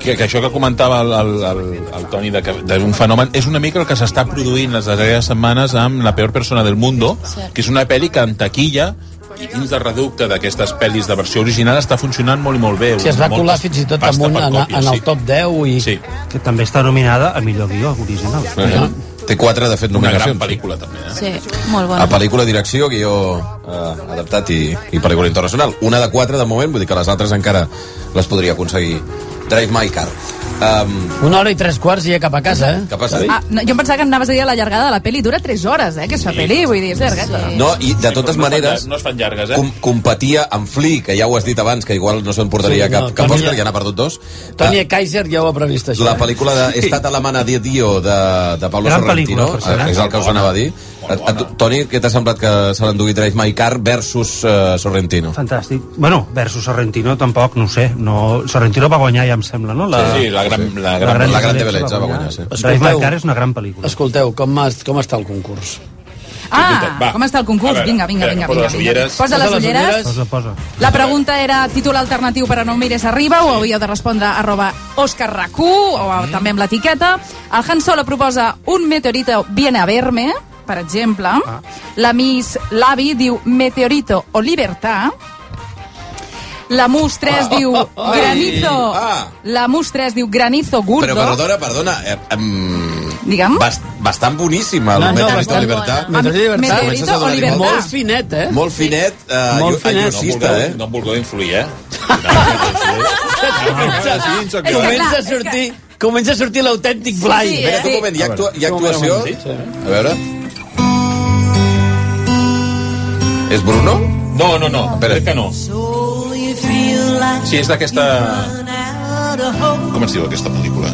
Speaker 1: que, que això que comentava el, el, el, el Toni de que- d'un fenomen és una mica el que s'està produint les darreres setmanes amb La peor persona del mundo que és una pel·li que en taquilla i dins del reducte d'aquestes pel·lis de versió original està funcionant molt i molt bé
Speaker 5: Si es va
Speaker 1: Moltes
Speaker 5: colar fins i tot
Speaker 1: pasta
Speaker 5: amb un
Speaker 1: per
Speaker 5: en,
Speaker 1: còpia,
Speaker 5: en el
Speaker 1: sí.
Speaker 5: top 10 i...
Speaker 1: Sí.
Speaker 2: Que també està nominada a millor guió original.
Speaker 3: Eh, Té quatre, de fet,
Speaker 1: una gran
Speaker 3: nominacions.
Speaker 1: pel·lícula també eh?
Speaker 7: Sí,
Speaker 3: A
Speaker 7: molt bona.
Speaker 3: pel·lícula, direcció, guió eh, adaptat i, i pel·lícula internacional. Una de quatre, de moment, vull dir que les altres encara les podria aconseguir. Drive My Car. Um,
Speaker 5: Una hora i tres quarts i ja cap a casa, eh?
Speaker 3: Cap a casa.
Speaker 8: Ah, no, jo em pensava que anaves a dir la llargada de la peli. Dura 3 hores, eh, que és la peli. Vull dir, és llargada.
Speaker 3: no, i de totes
Speaker 1: no es fan
Speaker 3: maneres...
Speaker 1: llar- no es fan llargues, eh?
Speaker 3: Com, competia amb Flea, que ja ho has dit abans, que igual no se'n portaria
Speaker 5: Sí,
Speaker 3: sí,
Speaker 5: no,
Speaker 3: cap, cap
Speaker 5: Toni-
Speaker 3: Òscar, ja n'ha perdut dos.
Speaker 5: Tony Kaiser ja ho ha previst,
Speaker 3: Ah.
Speaker 5: això. eh?
Speaker 3: La pel·lícula de Estat a la mana de Dio de, de Pablo
Speaker 5: Gran
Speaker 3: Sorrentino,
Speaker 5: pel·lícula, per cert, eh?
Speaker 3: és el que us anava a dir. A, a, tu- Toni, què t'ha semblat que se l'endugui Drive My Car versus eh, Sorrentino?
Speaker 2: Fantàstic. Bueno, versus Sorrentino tampoc, no ho sé. No... Sorrentino va guanyar, ja em sembla, no?
Speaker 1: Sí, sí, la gran- la gran- la gran Beleza va guanyar, sí.
Speaker 2: Drive My Car és una gran pel·lícula.
Speaker 5: Escolteu, com, es, com està el concurs?
Speaker 8: Ah,
Speaker 2: va.
Speaker 8: com està el concurs?
Speaker 2: A veure,
Speaker 8: vinga, vinga,
Speaker 2: espera,
Speaker 8: vinga,
Speaker 2: posa
Speaker 8: vinga,
Speaker 2: les
Speaker 8: vinga.
Speaker 2: ulleres.
Speaker 8: Posa les ulleres.
Speaker 2: Posa, posa.
Speaker 8: La pregunta era títol alternatiu per a No mires arriba o havíeu de respondre arroba Òscar RAC1 o
Speaker 3: Mm.
Speaker 8: a- també amb l'etiqueta. El Han Solo proposa un meteorito viene a verme, per exemple.
Speaker 3: Ah.
Speaker 8: La Miss Lavi diu meteorito o libertà. La Mus 3 diu
Speaker 3: Ah. Ai,
Speaker 8: granizo.
Speaker 3: ah.
Speaker 8: La Mus 3 diu granizo
Speaker 3: Però
Speaker 8: gordo.
Speaker 3: perdona, perdona, eh, em...
Speaker 8: Digue'm.
Speaker 3: bast bastant boníssima, el
Speaker 5: No,
Speaker 3: no,
Speaker 5: no,
Speaker 3: Meteorito
Speaker 5: bastant
Speaker 3: Libertad.
Speaker 5: bona. Meteorito Libertad.
Speaker 3: Comences a
Speaker 5: Meteorito
Speaker 3: donar-hi
Speaker 5: Libertad.
Speaker 3: voltes.
Speaker 5: Molt finet, eh?
Speaker 3: Molt finet, eh,
Speaker 5: Molt
Speaker 3: Molt
Speaker 5: finet.
Speaker 3: finet.
Speaker 1: No em
Speaker 3: eh?
Speaker 1: vulgueu- no em vulgueu influir eh?
Speaker 3: Ah,
Speaker 5: Comença,
Speaker 1: que-
Speaker 5: comença a sortir... Comença a sortir l'autèntic Blai.
Speaker 3: Sí, sí, Espera't un eh? moment, hi ha actua- hi ha actuació? A veure... És Bruno?
Speaker 1: no, no, no, crec que no sí, és d'aquesta com es diu aquesta pel·lícula?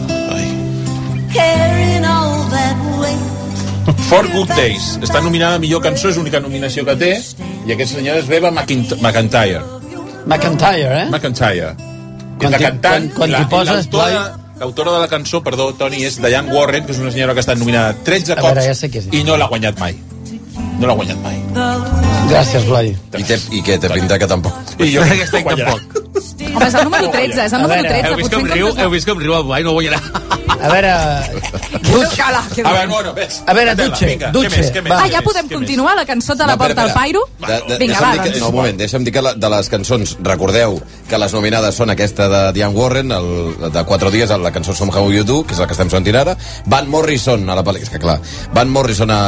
Speaker 1: Four Good Days està nominada a millor cançó, és l'única nominació que té i aquest senyor és Beba McInt- McIntyre
Speaker 5: McIntyre, eh?
Speaker 1: McIntyre és la
Speaker 5: t'hi-
Speaker 1: cantant...
Speaker 5: quan- quan
Speaker 1: la-
Speaker 5: t'hi poses,
Speaker 1: l'autora- L'autora de la cançó, perdó, Toni, és Diane Warren, que és una senyora que ha estat nominada 13 cops
Speaker 5: veure, ja sé qui és.
Speaker 1: i no l'ha guanyat mai. No l'ha guanyat mai.
Speaker 5: Gràcies, Blai.
Speaker 3: I, té, I què, té pinta que tampoc.
Speaker 1: I jo crec que
Speaker 10: Aquest any tampoc.
Speaker 8: Home, és el número 13, és el número 13.
Speaker 10: heu vist com
Speaker 8: en
Speaker 10: riu,
Speaker 8: comptes de-
Speaker 10: heu vist com riu el Blai, no guanyarà.
Speaker 5: A veure... Dutx.
Speaker 1: A veure, bueno, ves.
Speaker 5: A veure,
Speaker 1: Tela,
Speaker 5: Dutxe,
Speaker 1: vinga, què més,
Speaker 5: Dutxe.
Speaker 1: què més?
Speaker 8: Ah, ja podem continuar la cançó de la
Speaker 3: No, espera,
Speaker 8: porta al
Speaker 3: espera.
Speaker 8: Pairo?
Speaker 3: De, de,
Speaker 8: Vinga,
Speaker 3: deixa'm
Speaker 8: va,
Speaker 3: dir que, no, un
Speaker 8: doncs.
Speaker 3: moment, deixa'm dir que la, de les cançons, recordeu que les nominades són aquesta de Diane Warren, el, de 4 dies, la cançó Somehow You Do, que és la que estem sentint ara, Van Morrison a la pel·lícula, és que clar, Van Morrison a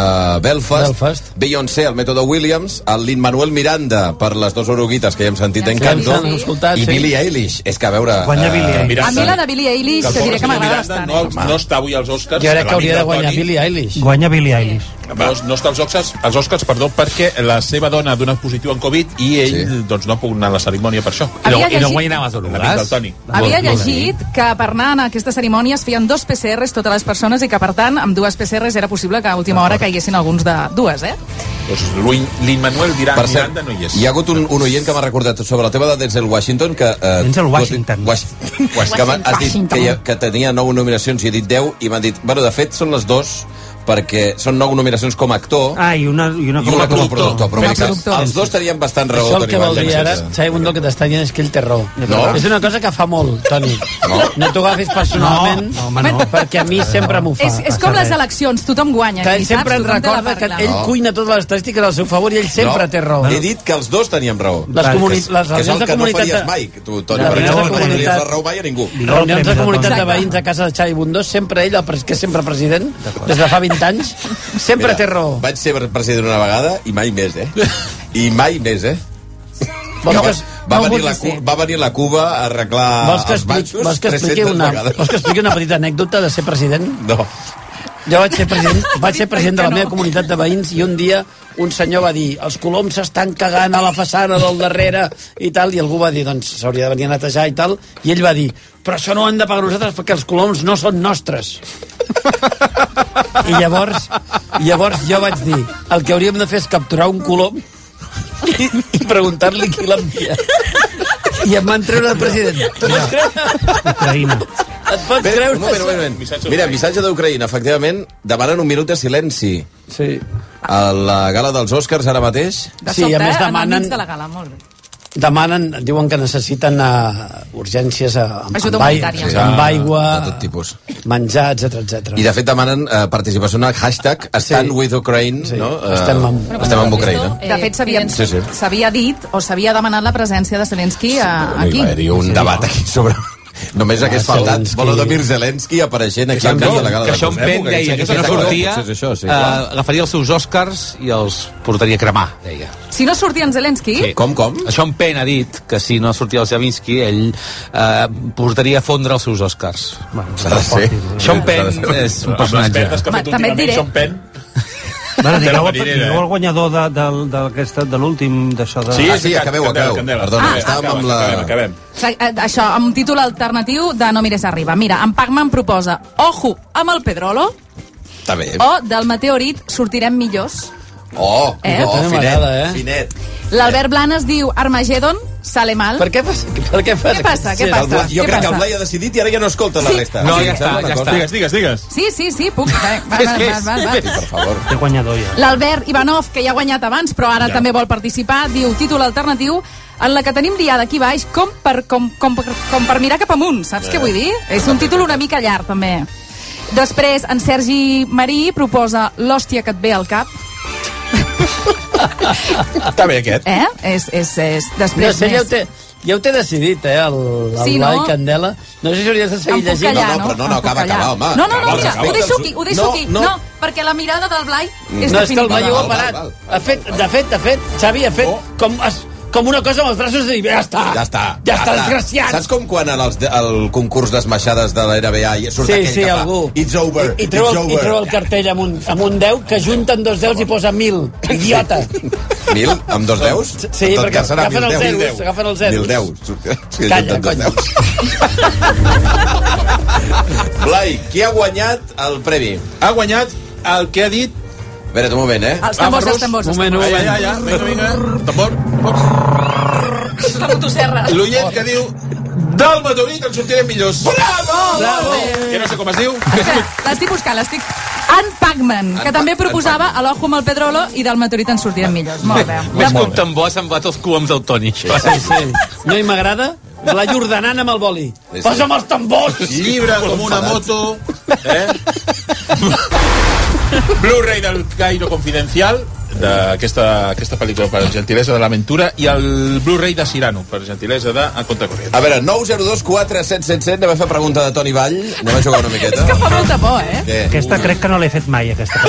Speaker 3: Belfast, Belfast. Beyoncé al Método Williams, el Lin-Manuel Miranda per les dues oruguites que ja hem sentit d'Encanto,
Speaker 5: hem escoltat,
Speaker 3: i
Speaker 5: sí.
Speaker 3: Billie Eilish. És que a veure... eh,
Speaker 5: Guanya Billie Eilish.
Speaker 8: A mi la de Billie Eilish, te diré que m'agrada eh? bastant.
Speaker 1: No, no està avui als Oscars.
Speaker 5: Jo crec
Speaker 1: l'amic
Speaker 5: que hauria de
Speaker 1: del
Speaker 5: guanyar
Speaker 1: Toni.
Speaker 5: Billie Eilish.
Speaker 2: Guanya Billie Eilish.
Speaker 1: No, no està als Oscars, als Oscars, perdó, perquè la seva dona ha donat positiu en Covid i ell sí. doncs, no ha pogut anar a la cerimònia per això.
Speaker 8: Havia I no- i no llegit- guanyarà
Speaker 1: les orugues.
Speaker 8: Havia llegit que per anar a aquesta cerimònia es feien dos PCRs totes les persones i que, per tant, amb dues PCRs era possible que a última hora caiguessin alguns de dues, eh?
Speaker 1: Doncs Luin- l'Immanuel dirà
Speaker 3: Per cert,
Speaker 1: Miranda no hi és.
Speaker 3: hi ha hagut un, un oient que m'ha recordat sobre el tema de Denzel Washington que... Eh, Denzel Washington. Washington. que m'ha- has dit que, hi ha, que tenia 9 nominacions i he dit 10 i m'han dit, bueno, de fet són les dues perquè són 9 nominacions com a actor
Speaker 2: Ah, i una, i una,
Speaker 3: i una com a productor. Però mira, que els dos tenien bastant raó.
Speaker 5: Això el
Speaker 3: Toni
Speaker 5: que vol
Speaker 3: Vallès.
Speaker 5: dir ara, Xavi Bundó, que t'està dient és que ell té raó.
Speaker 3: No.
Speaker 5: És una cosa que fa molt, Toni. No, no t'ho agafis personalment, no, home, no. perquè a mi sempre m'ho fa.
Speaker 8: És, és com les eleccions, tothom guanya.
Speaker 5: Que
Speaker 8: aquí,
Speaker 5: ell sempre ens
Speaker 8: saps? Tothom té la
Speaker 5: recorda que
Speaker 8: parla.
Speaker 5: ell cuina totes les estadístiques al seu favor i ell sempre
Speaker 3: No,
Speaker 5: té raó.
Speaker 3: He dit que els dos teníem raó.
Speaker 5: Les comuni-
Speaker 3: Que-
Speaker 5: les
Speaker 3: que és
Speaker 5: reunions
Speaker 3: el
Speaker 5: de
Speaker 3: que no
Speaker 5: comunitat
Speaker 3: faries
Speaker 5: de-
Speaker 3: mai, tu, Toni,
Speaker 5: les
Speaker 3: perquè no li
Speaker 5: reunions de
Speaker 3: donaries
Speaker 5: comunitat-
Speaker 3: la raó mai a ningú.
Speaker 5: Reunions de comunitat de veïns a casa de Xavi Bundó, sempre ell, el pres- que és sempre president, des de fa 20 anys, sempre
Speaker 3: Mira,
Speaker 5: té raó.
Speaker 3: Vaig ser president una vegada i mai més, eh? I mai més, eh? Que
Speaker 5: Vols que
Speaker 3: va,
Speaker 5: es-
Speaker 3: va,
Speaker 5: no
Speaker 3: venir
Speaker 5: vulguis
Speaker 3: la, cu- va venir la Cuba a arreglar
Speaker 5: Vols que,
Speaker 3: els
Speaker 5: explic,
Speaker 3: matxos
Speaker 5: vols que expliqui
Speaker 3: 300
Speaker 5: una,
Speaker 3: vegades.
Speaker 5: vols que expliqui una petita anècdota de ser president?
Speaker 3: No.
Speaker 5: Jo vaig ser president, vaig ser president de la meva comunitat de veïns i un dia un senyor va dir els coloms s'estan cagant a la façana del darrere i tal, i algú va dir doncs s'hauria de venir a netejar i tal, i ell va dir però això no ho hem de pagar nosaltres perquè els coloms no són nostres. I llavors, llavors jo vaig dir el que hauríem de fer és capturar un colom i, i preguntar-li qui l'envia. I em van treure de president. Tu pots creure?
Speaker 2: Ucraïna.
Speaker 5: Et pots
Speaker 3: Espera,
Speaker 5: creure
Speaker 3: un moment, un
Speaker 5: això?
Speaker 3: moment, un moment. Mira, missatge d'Ucraïna, efectivament, demanen un minut de silenci.
Speaker 5: Sí.
Speaker 3: A la gala dels Oscars ara mateix.
Speaker 8: De
Speaker 5: Sí,
Speaker 8: sobte,
Speaker 5: a més
Speaker 8: en el mig
Speaker 5: demanen-
Speaker 8: de la gala, molt bé.
Speaker 5: demanen, diuen que necessiten uh, urgències uh, amb,
Speaker 8: Ajuda
Speaker 5: amb, ai-
Speaker 8: humanitària.
Speaker 5: sí, amb aigua,
Speaker 3: De tot tipus.
Speaker 5: menjar, etc etc.
Speaker 3: I de fet demanen eh, participació en el hashtag Stand with Ukraine, sí. no? Eh,
Speaker 5: Estem amb-
Speaker 3: estem amb Ucraïna.
Speaker 8: De fet, s'havia
Speaker 3: Sí, sí.
Speaker 8: s'havia dit o s'havia demanat la presència de Zelensky a,
Speaker 3: Aquí. Ah,
Speaker 8: aquí.
Speaker 3: Va haver-hi un debat aquí sobre... Només hagués faltat
Speaker 10: Zelensky.
Speaker 3: Volodymyr Zelensky apareixent aquí al cap de la gala.
Speaker 10: que
Speaker 3: de
Speaker 10: Sean
Speaker 3: Cosmo.
Speaker 10: Penn deia que si no
Speaker 3: Exacte,
Speaker 10: sortia,
Speaker 3: potser és això, sí,
Speaker 10: eh,
Speaker 3: clar.
Speaker 10: agafaria els seus Oscars i els portaria a cremar, deia.
Speaker 8: Si no sortia en Zelensky,
Speaker 3: Com, com?
Speaker 10: Sean Penn ha dit que si no sortia el Zelensky, ell eh, portaria a fondre els seus Oscars. Bueno,
Speaker 3: S'ha de ser.
Speaker 10: Sean Penn
Speaker 3: S'ha de ser.
Speaker 10: és un
Speaker 3: Amb les
Speaker 10: personatge.
Speaker 3: pertes que
Speaker 8: ha fet Ma- també et últimament diré- Sean
Speaker 1: Penn.
Speaker 2: Bueno,
Speaker 1: Té la
Speaker 2: digueu,
Speaker 1: marinera,
Speaker 2: digueu
Speaker 1: eh?
Speaker 2: el guanyador de, de, d'aquesta- de l'últim d'això de...
Speaker 3: Sí, Ah, sí, sí, acabeu, Candela, acabeu. Candela. Perdona, Ah, estàvem acabes, amb la- acabem, acabem.
Speaker 8: Sa- eh, Això, amb un títol alternatiu de No mires arriba. Mira, en Pac-Man proposa Ojo amb el Pedrolo
Speaker 3: Està bé.
Speaker 8: o del meteorit sortirem millors.
Speaker 3: Oh,
Speaker 8: Eh?
Speaker 3: oh
Speaker 8: També
Speaker 3: finet,
Speaker 8: m'agrada, eh?
Speaker 3: finet.
Speaker 8: L'Albert Blanes diu Armageddon, sale mal. Per
Speaker 5: què passa? Per què
Speaker 8: Què passa? Què
Speaker 3: Sí, el
Speaker 8: passa?
Speaker 3: Blai- Jo crec
Speaker 8: Què
Speaker 3: que el
Speaker 8: passa?
Speaker 3: Blai ha decidit i ara ja no escolta la
Speaker 8: Sí.
Speaker 3: resta.
Speaker 10: No,
Speaker 3: O sigui,
Speaker 10: ja està,
Speaker 3: estem
Speaker 10: ja
Speaker 3: d'acord?
Speaker 10: està. Digues, digues, digues.
Speaker 8: Sí, sí, sí, puc. Va, va,
Speaker 10: Fes,
Speaker 8: va,
Speaker 10: fes,
Speaker 8: va, va,
Speaker 10: fes.
Speaker 8: va.
Speaker 3: Per favor.
Speaker 2: Té guanyador ja.
Speaker 8: L'Albert Ivanov, que ja ha guanyat abans, però ara
Speaker 2: Ja.
Speaker 8: també vol participar, diu títol alternatiu en la que tenim diada aquí baix com per, com, com, per- com per mirar cap amunt, saps què vull dir? És un títol una mica llarg, també. Després, en Sergi Marí proposa l'hòstia que et ve al cap,
Speaker 3: Està bé aquest.
Speaker 8: eh? És, és, és...
Speaker 5: No
Speaker 8: Després
Speaker 5: sé, ja ho
Speaker 8: més.
Speaker 5: té, ja ho té decidit, eh, el, el
Speaker 8: Sí,
Speaker 5: sí, no?
Speaker 8: no?
Speaker 5: Candela. No sé si hauries de
Speaker 8: Em
Speaker 5: seguir
Speaker 8: puc
Speaker 5: llegint.
Speaker 8: callar, no? Em puc callar. No, no, no, mira, ho deixo aquí, ho deixo
Speaker 5: No,
Speaker 8: aquí.
Speaker 5: no.
Speaker 8: No. perquè la mirada del Blai és
Speaker 5: no, és que el
Speaker 8: definitiva.
Speaker 5: Blai ho ha parat. Ha fet, de fet, de fet, Xavi ha fet com, es, com una cosa amb els braços de dir, ja està,
Speaker 3: Ja està.
Speaker 5: ja està, desgraciats.
Speaker 3: Saps com quan al el concurs d'esmaixades de la NBA i surt
Speaker 5: Sí,
Speaker 3: aquell
Speaker 5: sí,
Speaker 3: que fa
Speaker 5: algú.
Speaker 3: It's over,
Speaker 5: I treu,
Speaker 3: it's
Speaker 5: el, I
Speaker 3: over.
Speaker 5: treu el cartell amb un, amb un 10 que junten dos 10 i posa 1.000. Idiota.
Speaker 3: Mil? Amb dos deus?
Speaker 5: Sí,
Speaker 3: En tot
Speaker 5: perquè
Speaker 3: cas serà
Speaker 5: agafen
Speaker 3: mil
Speaker 5: els
Speaker 3: deus.
Speaker 5: zeros, agafen els zeros.
Speaker 3: Mil deus. Sí,
Speaker 5: Calla,
Speaker 3: junten dos
Speaker 5: cony.
Speaker 3: deus. Blai, qui ha guanyat el premi?
Speaker 1: Ha guanyat el que ha dit...
Speaker 3: Espera't un moment, eh?
Speaker 8: Els tambors, els tambors. els
Speaker 1: Moment,
Speaker 8: tambors.
Speaker 1: moment. Ja, ja, vinga, vinga. Tambor.
Speaker 8: La motosserra.
Speaker 1: L'oient que diu Del meteorit en sortirem millors. Bravo!
Speaker 8: Bravo!
Speaker 1: Que no sé com es diu.
Speaker 8: Espera, L'estic buscant, l'estic... Anne Pacman, que
Speaker 10: Anne
Speaker 8: també
Speaker 10: Pa-
Speaker 8: proposava a l'Ojo amb el Pedrolo i del meteorit en sortirem millors. Molt bé.
Speaker 10: Més que un tambor s'han bat els cuams del Toni. Sí, sí.
Speaker 5: No hi m'agrada? La Jordanana amb el boli.
Speaker 10: sí.
Speaker 5: Posa'm els tambors!
Speaker 1: Llibre com una moto. Eh? Blu-ray del Cairo Confidencial d'aquesta aquesta pel·lícula per gentilesa de l'aventura i el Blu-ray de Cirano per gentilesa de A Contracorrent.
Speaker 3: A veure, 902 477, anem a fer pregunta de Toni Vall. Anem a jugar una miqueta.
Speaker 8: Fa molta por, eh?
Speaker 3: Què?
Speaker 2: Aquesta crec que no l'he fet mai, aquesta.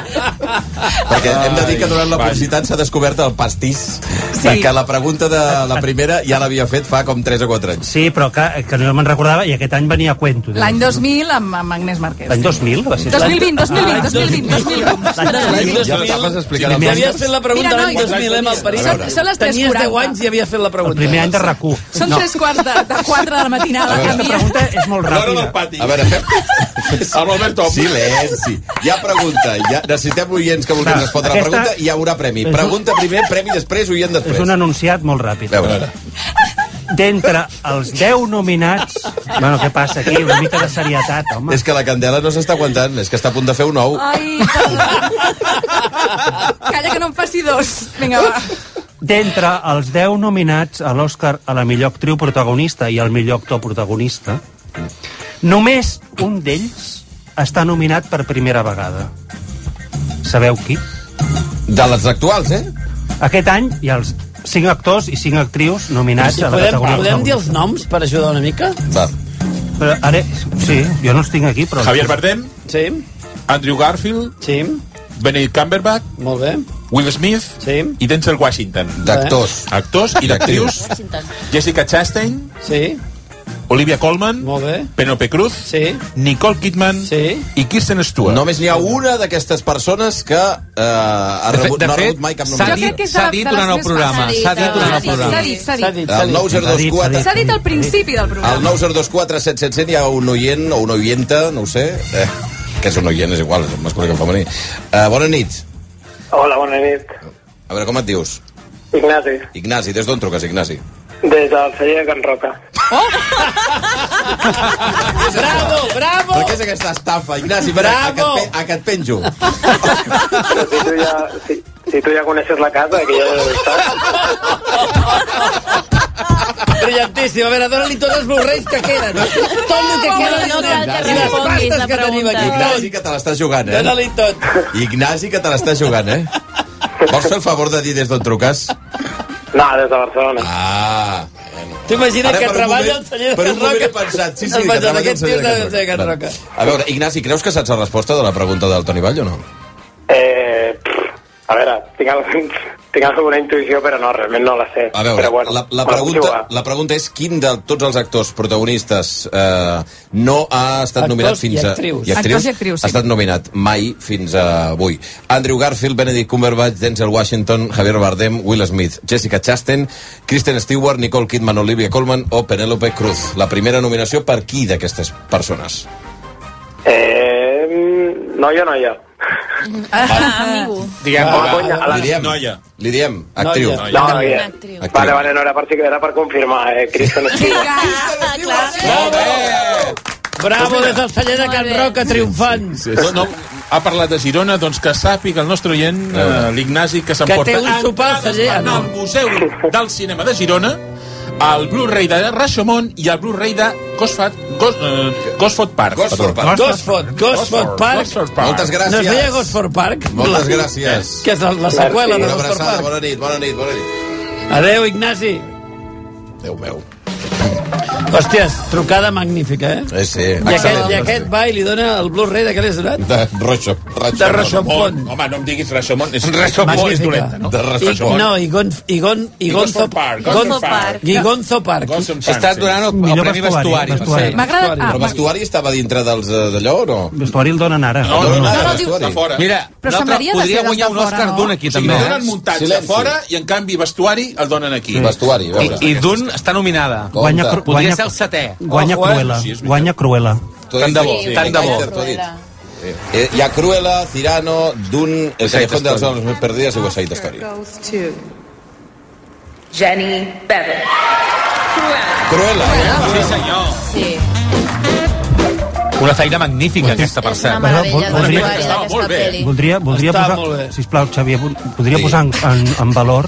Speaker 3: Perquè hem de dir que durant la publicitat s'ha descobert el pastís. Sí. Perquè la pregunta de la primera ja l'havia fet fa com 3 o 4 anys.
Speaker 2: Sí, però que, que no me'n recordava i aquest any venia a cuento.
Speaker 8: L'any 2000 amb, amb Agnès Marquès.
Speaker 2: L'any 2000 va ser.
Speaker 8: 2020, 2020, 2020, 2020.
Speaker 3: Ja t'acabes d'explicar
Speaker 5: Si
Speaker 3: el
Speaker 5: havies fet la pregunta
Speaker 8: Mira,
Speaker 5: l'any
Speaker 8: nois,
Speaker 5: 2000, eh, mal parit.
Speaker 8: són- són les tres
Speaker 5: Tenies 10
Speaker 8: quaranta.
Speaker 5: anys i havies fet la pregunta.
Speaker 2: El primer any de RAC1.
Speaker 8: Són tres quarts de, de quatre de la matinada.
Speaker 3: A veure.
Speaker 8: Canvia.
Speaker 2: És molt
Speaker 3: ràpida. L'hora del pati. A veure, fem... Amb Alberto. Silenci. Hi ha pregunta. Hi ha... Necessitem oients que vulguin
Speaker 2: Clar,
Speaker 3: respondre
Speaker 2: aquesta-
Speaker 3: la pregunta i hi haurà premi.
Speaker 2: És un-
Speaker 3: Pregunta primer, premi després, oient
Speaker 2: És
Speaker 3: després.
Speaker 2: un anunciat molt ràpid.
Speaker 3: A veure.
Speaker 2: D'entre els 10 nominats... Bueno, què passa aquí? Una mica de serietat, home.
Speaker 3: És que la Candela no s'està aguantant, és que està a punt de fer un ou.
Speaker 8: Ai, Calla que no em faci dos. Vinga, va.
Speaker 2: D'entre els 10 nominats a l'Oscar a la millor actriu protagonista i al millor actor protagonista, només un d'ells està nominat per primera vegada. Sabeu qui?
Speaker 3: De les actuals, eh?
Speaker 2: Aquest any hi ha els 5 actors i 5 actrius nominats
Speaker 5: Si
Speaker 2: a la
Speaker 5: podem,
Speaker 2: categoria
Speaker 5: podem dir
Speaker 2: protagonista.
Speaker 5: els noms per ajudar una mica?
Speaker 3: Va.
Speaker 2: Però ara, sí, jo no els tinc aquí, però...
Speaker 1: Javier Bardem.
Speaker 5: Sí.
Speaker 1: Andrew Garfield.
Speaker 5: Sí.
Speaker 1: Benedict Cumberbatch.
Speaker 5: Molt bé.
Speaker 1: Will Smith.
Speaker 5: Sí.
Speaker 1: I Denzel Washington.
Speaker 3: D'actors.
Speaker 1: Actors i d'actrius. Jessica Chastain.
Speaker 5: Sí.
Speaker 1: Olivia Colman. Molt
Speaker 5: bé.
Speaker 1: Penelope Cruz.
Speaker 5: Sí.
Speaker 1: Nicole Kidman.
Speaker 5: Sí.
Speaker 1: I Kirsten Stewart.
Speaker 3: Només n'hi ha una d'aquestes persones que eh, ha
Speaker 10: De fet-
Speaker 3: rebut,
Speaker 10: de
Speaker 3: no ha
Speaker 10: fet,
Speaker 3: rebut mai cap
Speaker 10: s'ha
Speaker 3: nominació.
Speaker 10: dit- Jo crec que és s'ha de- dit de les durant el més programa, passades. s'ha dit durant el programa.
Speaker 8: S'ha dit, s'ha dit.
Speaker 3: El
Speaker 8: S'ha
Speaker 3: 902
Speaker 8: dit al principi del programa.
Speaker 3: Al 902 700 hi ha un oient o una oienta, no ho sé, eh, que és un oient, és igual, és un masculí que un femení. Eh, bona nit.
Speaker 6: Hola, bona nit.
Speaker 3: A veure, com et dius?
Speaker 6: Ignasi,
Speaker 3: Ignasi, des d'on truques, Ignasi?
Speaker 6: des del celler de Can Roca.
Speaker 8: Oh!
Speaker 5: Bravo, bravo!
Speaker 3: Però què és aquesta estafa, Ignasi? Bravo! A que, et, pe- a que et penjo.
Speaker 6: Però si tu ja, si, si tu ja coneixes la casa, que ja deu estar...
Speaker 5: Brillantíssim. A veure, dóna-li tots els Blu-rays que queden. Tot el que
Speaker 7: No,
Speaker 5: queda.
Speaker 7: no cal que
Speaker 5: I les
Speaker 7: responguis
Speaker 5: pastes
Speaker 7: la
Speaker 5: que tenim
Speaker 7: pregunta.
Speaker 3: Ignasi,
Speaker 5: aquí.
Speaker 3: que te l'estàs jugant,
Speaker 5: Tot.
Speaker 3: eh?
Speaker 5: Dóna-li tot.
Speaker 3: Ignasi, que te l'estàs jugant, eh? Vols fer el favor de dir des d'on truques?
Speaker 6: No, des de Barcelona.
Speaker 3: Ah,
Speaker 5: T'imagines
Speaker 3: Ara,
Speaker 5: que
Speaker 3: per un
Speaker 5: treballa
Speaker 3: moment-
Speaker 5: al celler de
Speaker 3: per un
Speaker 5: Can Roca?
Speaker 3: moment he pensat, sí, sí,
Speaker 5: Em
Speaker 3: que
Speaker 5: pensava,
Speaker 3: treballa al
Speaker 5: aquest
Speaker 3: celler de
Speaker 5: tio
Speaker 3: Can
Speaker 5: del celler de Can
Speaker 3: Roca.
Speaker 5: Roca.
Speaker 3: A veure, Ignasi, creus que saps la resposta de la pregunta del Toni Vall o no?
Speaker 6: Eh, pff, a veure, tinc, al- tinc alguna intuïció, però no, realment no la sé.
Speaker 3: A veure,
Speaker 6: però bueno,
Speaker 3: la, la,
Speaker 6: me puc
Speaker 3: pregunta,
Speaker 6: jugar.
Speaker 3: la pregunta és quin de tots els actors protagonistes eh, no ha estat
Speaker 5: Actors
Speaker 3: nominat
Speaker 5: i
Speaker 3: fins a...
Speaker 5: actrius.
Speaker 8: Actors i actrius, sí.
Speaker 3: Ha estat nominat mai fins a avui. Andrew Garfield, Benedict Cumberbatch, Denzel Washington, Javier Bardem, Will Smith, Jessica Chastain, Kristen Stewart, Nicole Kidman, Olivia Colman o Penélope Cruz. La primera nominació per qui d'aquestes persones?
Speaker 6: Eh, mm, noia, noia.
Speaker 7: Ah, amigo.
Speaker 3: Diguem,
Speaker 6: Ah, va, conya, a la-
Speaker 3: li diem,
Speaker 1: Noia.
Speaker 3: Li diem, actriu.
Speaker 6: Noia. No, noia. Vale, vale, no, era per, si- era per confirmar, eh, Cristo. No sé.
Speaker 5: Bravo, des del celler de Can Roca, triomfant.
Speaker 1: No, no, ha parlat de Girona, doncs que sàpiga el nostre oient, eh, l'Ignasi, que
Speaker 5: Que
Speaker 1: s'emporta
Speaker 5: té un sopar al celler.
Speaker 1: anar al Museu del Cinema de Girona, al Blu-ray de Rashomon i al Blu-ray de Gosford, Gos, eh, Gosford Park.
Speaker 3: Gosford Park.
Speaker 5: Gosford, Gosford Park.
Speaker 1: Gosford Park.
Speaker 3: Moltes gràcies.
Speaker 5: No es deia Gosford Park?
Speaker 3: Moltes
Speaker 5: La-
Speaker 3: gràcies.
Speaker 5: Que és la, la seqüela de
Speaker 3: Una
Speaker 5: Gosford
Speaker 3: abraçada,
Speaker 5: Park.
Speaker 3: bona nit, bona nit, bona nit.
Speaker 5: Adéu, Ignasi.
Speaker 3: Déu meu.
Speaker 5: Hòsties, trucada magnífica, eh?
Speaker 3: Eh, sí,
Speaker 5: I aquest, I aquest va i li dona el Blu-ray de què l'has donat?
Speaker 3: De Rocho.
Speaker 5: De Rashomon.
Speaker 1: Home, no em diguis Rashomon. És
Speaker 5: Magnífica.
Speaker 1: Rashomon és dolenta, no?
Speaker 3: De
Speaker 5: I, no, i, Gon, i, Gon, i
Speaker 1: I
Speaker 5: Gonzo
Speaker 1: Gosford Park,
Speaker 5: Gon-
Speaker 1: Gosford Park.
Speaker 5: I Gonzo Park.
Speaker 1: Gosford Park,
Speaker 10: Estàs
Speaker 1: sí.
Speaker 10: donant el, el
Speaker 2: Millor
Speaker 10: premi
Speaker 2: vestuari,
Speaker 10: vestuari.
Speaker 2: vestuari.
Speaker 10: vestuari.
Speaker 2: M'ha agradat-
Speaker 3: Però vestuari estava dintre dels eh, d'allò o no?
Speaker 2: Vestuari el donen ara.
Speaker 3: No, no, no, no,
Speaker 1: diu-
Speaker 3: vestuari.
Speaker 1: de fora.
Speaker 10: Mira,
Speaker 1: Però
Speaker 10: l'altre
Speaker 1: semblaria de
Speaker 10: podria
Speaker 1: ser
Speaker 10: guanyar
Speaker 1: dels
Speaker 10: un
Speaker 1: de
Speaker 10: Òscar
Speaker 1: fora, no?
Speaker 10: d'un aquí,
Speaker 1: O sigui,
Speaker 10: també. eh?
Speaker 1: donen muntatge
Speaker 3: Silenci.
Speaker 1: fora i, en canvi, vestuari el donen aquí.
Speaker 3: Sí. Vestuari, a
Speaker 10: I,
Speaker 3: veure.
Speaker 10: i d'un està nominada.
Speaker 3: Compte.
Speaker 2: Guanya, cru-
Speaker 10: Podria
Speaker 2: guanya,
Speaker 10: ser el setè.
Speaker 2: guanya
Speaker 10: Ojo, eh?
Speaker 2: Cruella.
Speaker 10: Sí, és veritat.
Speaker 2: Guanya Cruella.
Speaker 10: Tant de bo, tant de bo.
Speaker 3: Eh, hi ha Cruella, Cirano, Dun, El Callejón de las Almas Més Perdidas i West Side Story.
Speaker 12: Goes to Jenny Bevan.
Speaker 3: Cruella, eh?
Speaker 10: Sí, senyor.
Speaker 7: Sí.
Speaker 10: Una feina magnífica, aquesta, per cert.
Speaker 7: meravella
Speaker 2: Voldria-
Speaker 7: d'usuari d'aquesta pel·li.
Speaker 2: Voldria, voldria
Speaker 7: Està molt
Speaker 2: posar, sisplau, Xavier, vo- podria
Speaker 1: Sí.
Speaker 2: posar en, en, en valor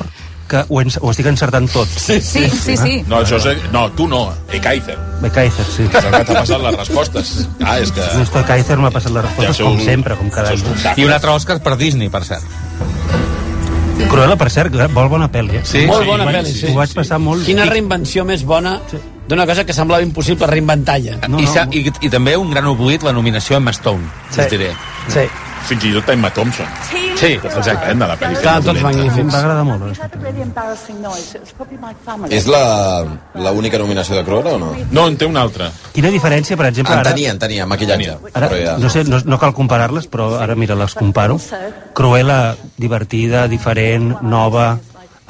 Speaker 2: que ho, ens, ho estic encertant tot.
Speaker 8: Sí, sí, sí.
Speaker 1: No, això és... No, tu no, Ekaizer.
Speaker 2: De Kaiser, sí.
Speaker 1: És el que t'ha passat les respostes. Ah, és que...
Speaker 2: Néstor Kaiser m'ha passat les respostes
Speaker 1: Ja
Speaker 2: ja
Speaker 1: sou-
Speaker 2: com sempre, com cada any.
Speaker 10: I un altre Òscar per Disney, per cert.
Speaker 2: Cruella, per cert, molt bona pel·li, eh?
Speaker 5: Sí, molt bona pel·li, sí.
Speaker 2: Ho vaig passar molt...
Speaker 5: Quina reinvenció més bona d'una cosa que semblava impossible reinventar ja.
Speaker 10: No, I, sa- i, I també un gran oblit, la nominació a Emma Stone, sí. us diré.
Speaker 5: Sí.
Speaker 1: Fins i tot a Emma Thompson.
Speaker 10: Sí, exacte.
Speaker 1: Prenda la pel·li.
Speaker 10: Estaven tots
Speaker 2: Em va agradar molt. eh.
Speaker 3: És la l'única nominació de Cruella o no?
Speaker 1: No, en té una altra.
Speaker 2: Quina diferència, per exemple,
Speaker 3: En
Speaker 2: ara...
Speaker 3: tenia, en tenia, maquillatge.
Speaker 2: Ara,
Speaker 3: Però ja...
Speaker 2: no sé, no, no cal comparar-les, però ara, mira, les comparo. Cruella, divertida, diferent, nova,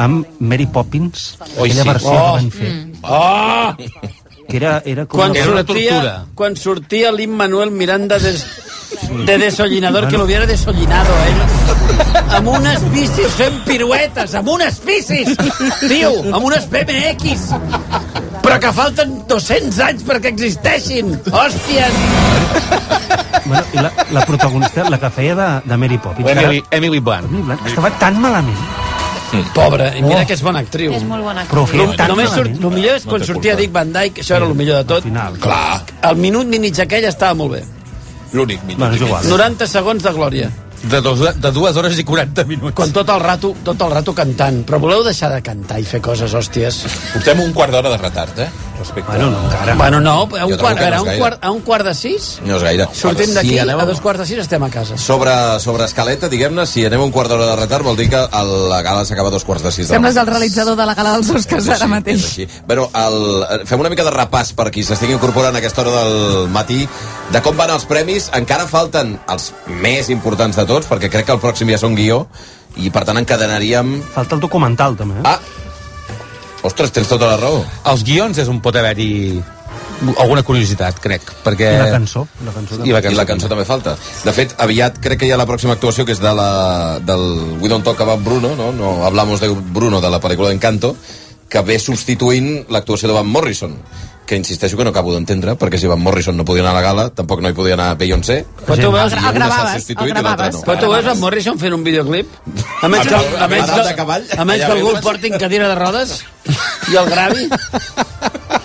Speaker 2: amb Mary Poppins,
Speaker 5: Oi,
Speaker 2: aquella
Speaker 5: sí.
Speaker 2: versió
Speaker 5: Oh.
Speaker 2: que van fer.
Speaker 5: Ah!
Speaker 2: Que era, era com
Speaker 5: Quan
Speaker 2: una-
Speaker 5: sortia, quan sortia l'Immanuel Miranda des, de desollinador, que lo hubiera desollinado, eh? Amb unes bicis fent piruetes, amb unes bicis! Tio, amb unes BMX! Però que falten 200 anys perquè existeixin! Hòsties!
Speaker 2: Bueno, i la, la protagonista, la que feia de, de Mary Poppins.
Speaker 10: Emily, Emily Blunt. Mm.
Speaker 2: Emily Blunt, Estava tan malament.
Speaker 5: Pobra, i mira que és bona actriu.
Speaker 2: És
Speaker 5: molt
Speaker 2: Oh.
Speaker 5: bona
Speaker 2: Però ho feia tan
Speaker 5: Només surt,
Speaker 2: malament.
Speaker 5: el millor és
Speaker 2: No
Speaker 5: quan
Speaker 2: té
Speaker 5: sortia
Speaker 2: culpa.
Speaker 5: Dick Van Dyke, això era el millor de tot.
Speaker 2: Final.
Speaker 5: Clar. El minut i mig aquell estava molt bé.
Speaker 1: L'únic minut.
Speaker 2: Bueno, és igual.
Speaker 5: 90 segons de glòria.
Speaker 10: De, dos, de dues hores i 40 minuts.
Speaker 5: Quan tot el rato, tot el rato cantant. Però voleu deixar de cantar i fer coses, hòsties?
Speaker 3: Portem un quart d'hora de retard, eh? Respecte
Speaker 2: Bueno, no, encara.
Speaker 5: Bueno, no, a un,
Speaker 3: Jo trobo
Speaker 5: quart,
Speaker 3: que
Speaker 5: a,
Speaker 3: no és
Speaker 5: veure, a un
Speaker 3: gaire.
Speaker 5: quart, a un quart de sis
Speaker 3: No és gaire.
Speaker 5: sortim
Speaker 3: Si
Speaker 5: d'aquí,
Speaker 3: anem
Speaker 5: a dos quarts de sis estem a casa.
Speaker 3: Sobre, sobre escaleta, diguem-ne, si anem un quart d'hora de retard vol dir que el, la gala s'acaba a dos quarts de sis de la
Speaker 8: Sembles el realitzador de la gala dels Oscars ara mateix.
Speaker 3: Sí. Bueno, el, eh, fem una mica de repàs per qui s'estigui incorporant a aquesta hora del matí de com van els premis. Encara falten els més importants de tots, perquè crec que el pròxim ja són guió, i per tant encadenaríem...
Speaker 2: Falta el documental, també.
Speaker 3: Ah! Ostres, tens tota la raó.
Speaker 10: eh? Els guions és on pot haver-hi alguna curiositat, crec, perquè...
Speaker 2: I la cançó. La cançó
Speaker 3: I la cançó, I la cançó també falta. De fet, aviat crec que hi ha la pròxima actuació, que és de la, del We Don't Talk About Bruno, no? no hablamos de Bruno, de la pel·lícula d'Encanto, que ve substituint l'actuació de Van Morrison, que insisteixo que no acabo d'entendre, perquè si Van Morrison no podia anar a la gala, tampoc no hi podia anar Beyoncé.
Speaker 5: Però tu veus-
Speaker 3: I una
Speaker 5: El gravaves,
Speaker 3: s'ha substituït
Speaker 5: el
Speaker 3: i l'altra
Speaker 5: Però tu veus a Morrison fent un videoclip? A menys que, a menys que, a menys que algú el porti en cadira de rodes i el gravi.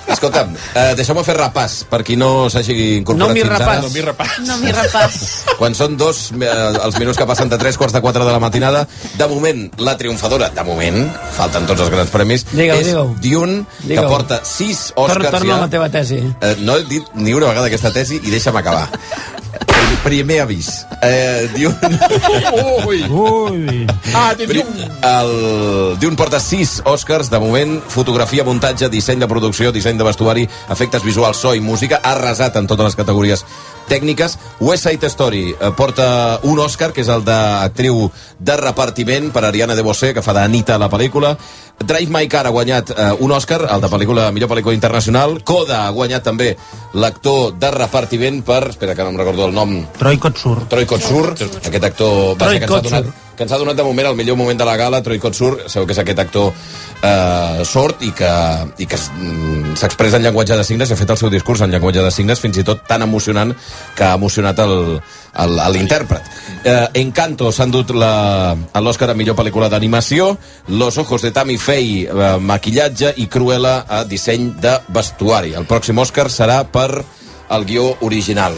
Speaker 3: Escolta'm, eh, deixeu-me fer repàs, per qui no s'hagi incorporat
Speaker 5: No m'hi
Speaker 3: fins ara.
Speaker 5: repàs.
Speaker 1: repàs.
Speaker 7: No m'hi repàs.
Speaker 3: Quan són dos, eh, els minuts que passen de 3 quarts de 4 de la matinada, de moment, la triomfadora, de moment, falten tots els grans premis,
Speaker 5: Digue-ho,
Speaker 3: és
Speaker 5: digue-ho.
Speaker 3: Dune,
Speaker 5: Digue-ho.
Speaker 3: que porta 6
Speaker 5: Torna,
Speaker 3: Oscars
Speaker 5: torna a la
Speaker 3: ja.
Speaker 5: teva tesi.
Speaker 3: Eh, no he dit ni una vegada aquesta tesi i deixa'm acabar. Prim- Primer avís. Eh, Dune...
Speaker 1: Ui!
Speaker 2: Ui!
Speaker 1: Ah,
Speaker 3: Pri- El Dune porta 6 Oscars de moment, fotografia, muntatge, disseny de producció, disseny de vestuari, efectes visuals, so i música, ha arrasat en totes les categories tècniques. West Side Story eh, porta un Oscar, que és el d'actriu de repartiment per Ariana DeBose, que fa d'Anita a la pel·lícula. Drive My Car ha guanyat eh, un Oscar, el de pel·lícula, millor pel·lícula internacional. Coda ha guanyat també l'actor de repartiment per... Espera, que no em recordo el nom.
Speaker 2: Troy Kotsur.
Speaker 3: Troy Kotsur, aquest actor vaja,
Speaker 2: Troy
Speaker 3: que ens, ha
Speaker 2: Kotsur.
Speaker 3: donat, que ens ha donat de moment el millor moment de la gala, Troy Kotsur, sabeu que és aquest actor eh, sort i que, i que s- mm, s'expressa en llenguatge de signes i ha fet el seu discurs en llenguatge de signes, fins i tot tan emocionant que ha emocionat el- el- a l'intèrpret. Eh, Encanto s'ha endut la- a l'Oscar a millor pel·lícula d'animació, Los ojos de Tammy Faye, eh, maquillatge i Cruella a disseny de vestuari. El pròxim Oscar serà per el guió original.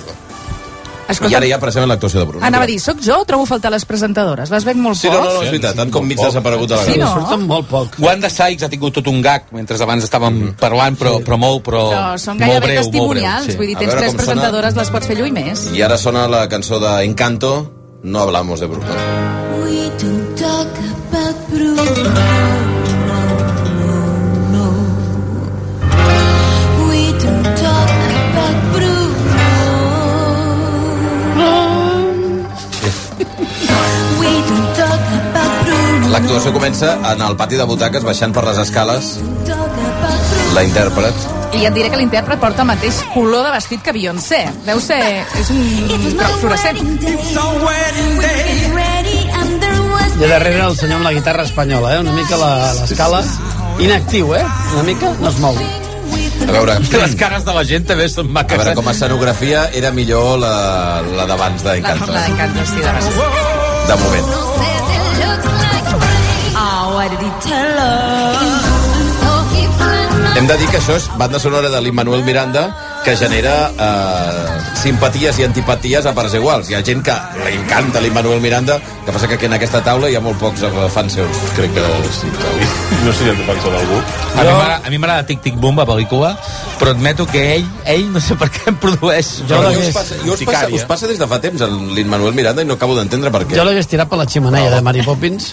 Speaker 3: I ara ja precisament l'actuació de Bruno.
Speaker 8: Anava a dir, soc jo o trobo a faltar les presentadores? Les veig molt
Speaker 3: Sí,
Speaker 8: poc.
Speaker 3: no, no, no, és veritat, tant com mig desaparegut a la
Speaker 8: Sí,
Speaker 3: gala.
Speaker 8: no? Surten
Speaker 5: molt poc.
Speaker 10: Wanda Sykes ha tingut tot un gag mentre abans estàvem parlant, però, però molt, però,
Speaker 8: Però són
Speaker 10: molt breu,
Speaker 8: gairebé
Speaker 10: molt breu.
Speaker 8: testimonials,
Speaker 3: sí.
Speaker 8: vull dir,
Speaker 3: A
Speaker 8: tens
Speaker 3: veure
Speaker 8: tres
Speaker 3: com sona.
Speaker 8: presentadores, les pots fer lluny més.
Speaker 3: I ara sona la cançó de Encanto, No hablamos de Bruno.
Speaker 12: We don't talk about Bruno. No, no, no. We don't talk about Bruno. We don't talk about Bruno.
Speaker 3: L'actuació comença en el pati de butaques, baixant per les escales, la intèrpret.
Speaker 8: I et diré que l'intèrpret porta el mateix color de vestit que Beyoncé. Deu ser... És un rock fluorescent.
Speaker 5: I a darrere el senyor amb la guitarra espanyola, eh? una mica la- l'escala. Inactiu, eh? Una mica, no es mou.
Speaker 3: A veure...
Speaker 10: Les cares de la gent també són
Speaker 3: A
Speaker 10: maques.
Speaker 3: veure, com a escenografia era millor la, la d'abans d'Encanto.
Speaker 7: La d'Encanto, sí, de base.
Speaker 3: De moment.
Speaker 12: Oh, what did he tell us?
Speaker 3: Hem de dir que això és banda sonora de l'Immanuel Miranda que genera eh, simpaties i antipaties a parts iguals. Hi ha gent que li encanta l'Immanuel Miranda, que passa que aquí en aquesta taula hi ha molt pocs eh, fans seus. Crec que sí,
Speaker 1: No sé si et pensa
Speaker 10: A
Speaker 1: d'algú.
Speaker 10: mi m'agrada- a mi m'agrada Tic Tic Boom, la pel·lícula, però admeto que ell, ell no sé per què em produeix...
Speaker 3: Jo, jo, us passa, jo us, passa, us
Speaker 10: eh?
Speaker 3: passa des de fa temps en l'Immanuel Miranda i no acabo d'entendre per què.
Speaker 5: Jo l'hagués tirat per la ximeneia de Mary Poppins.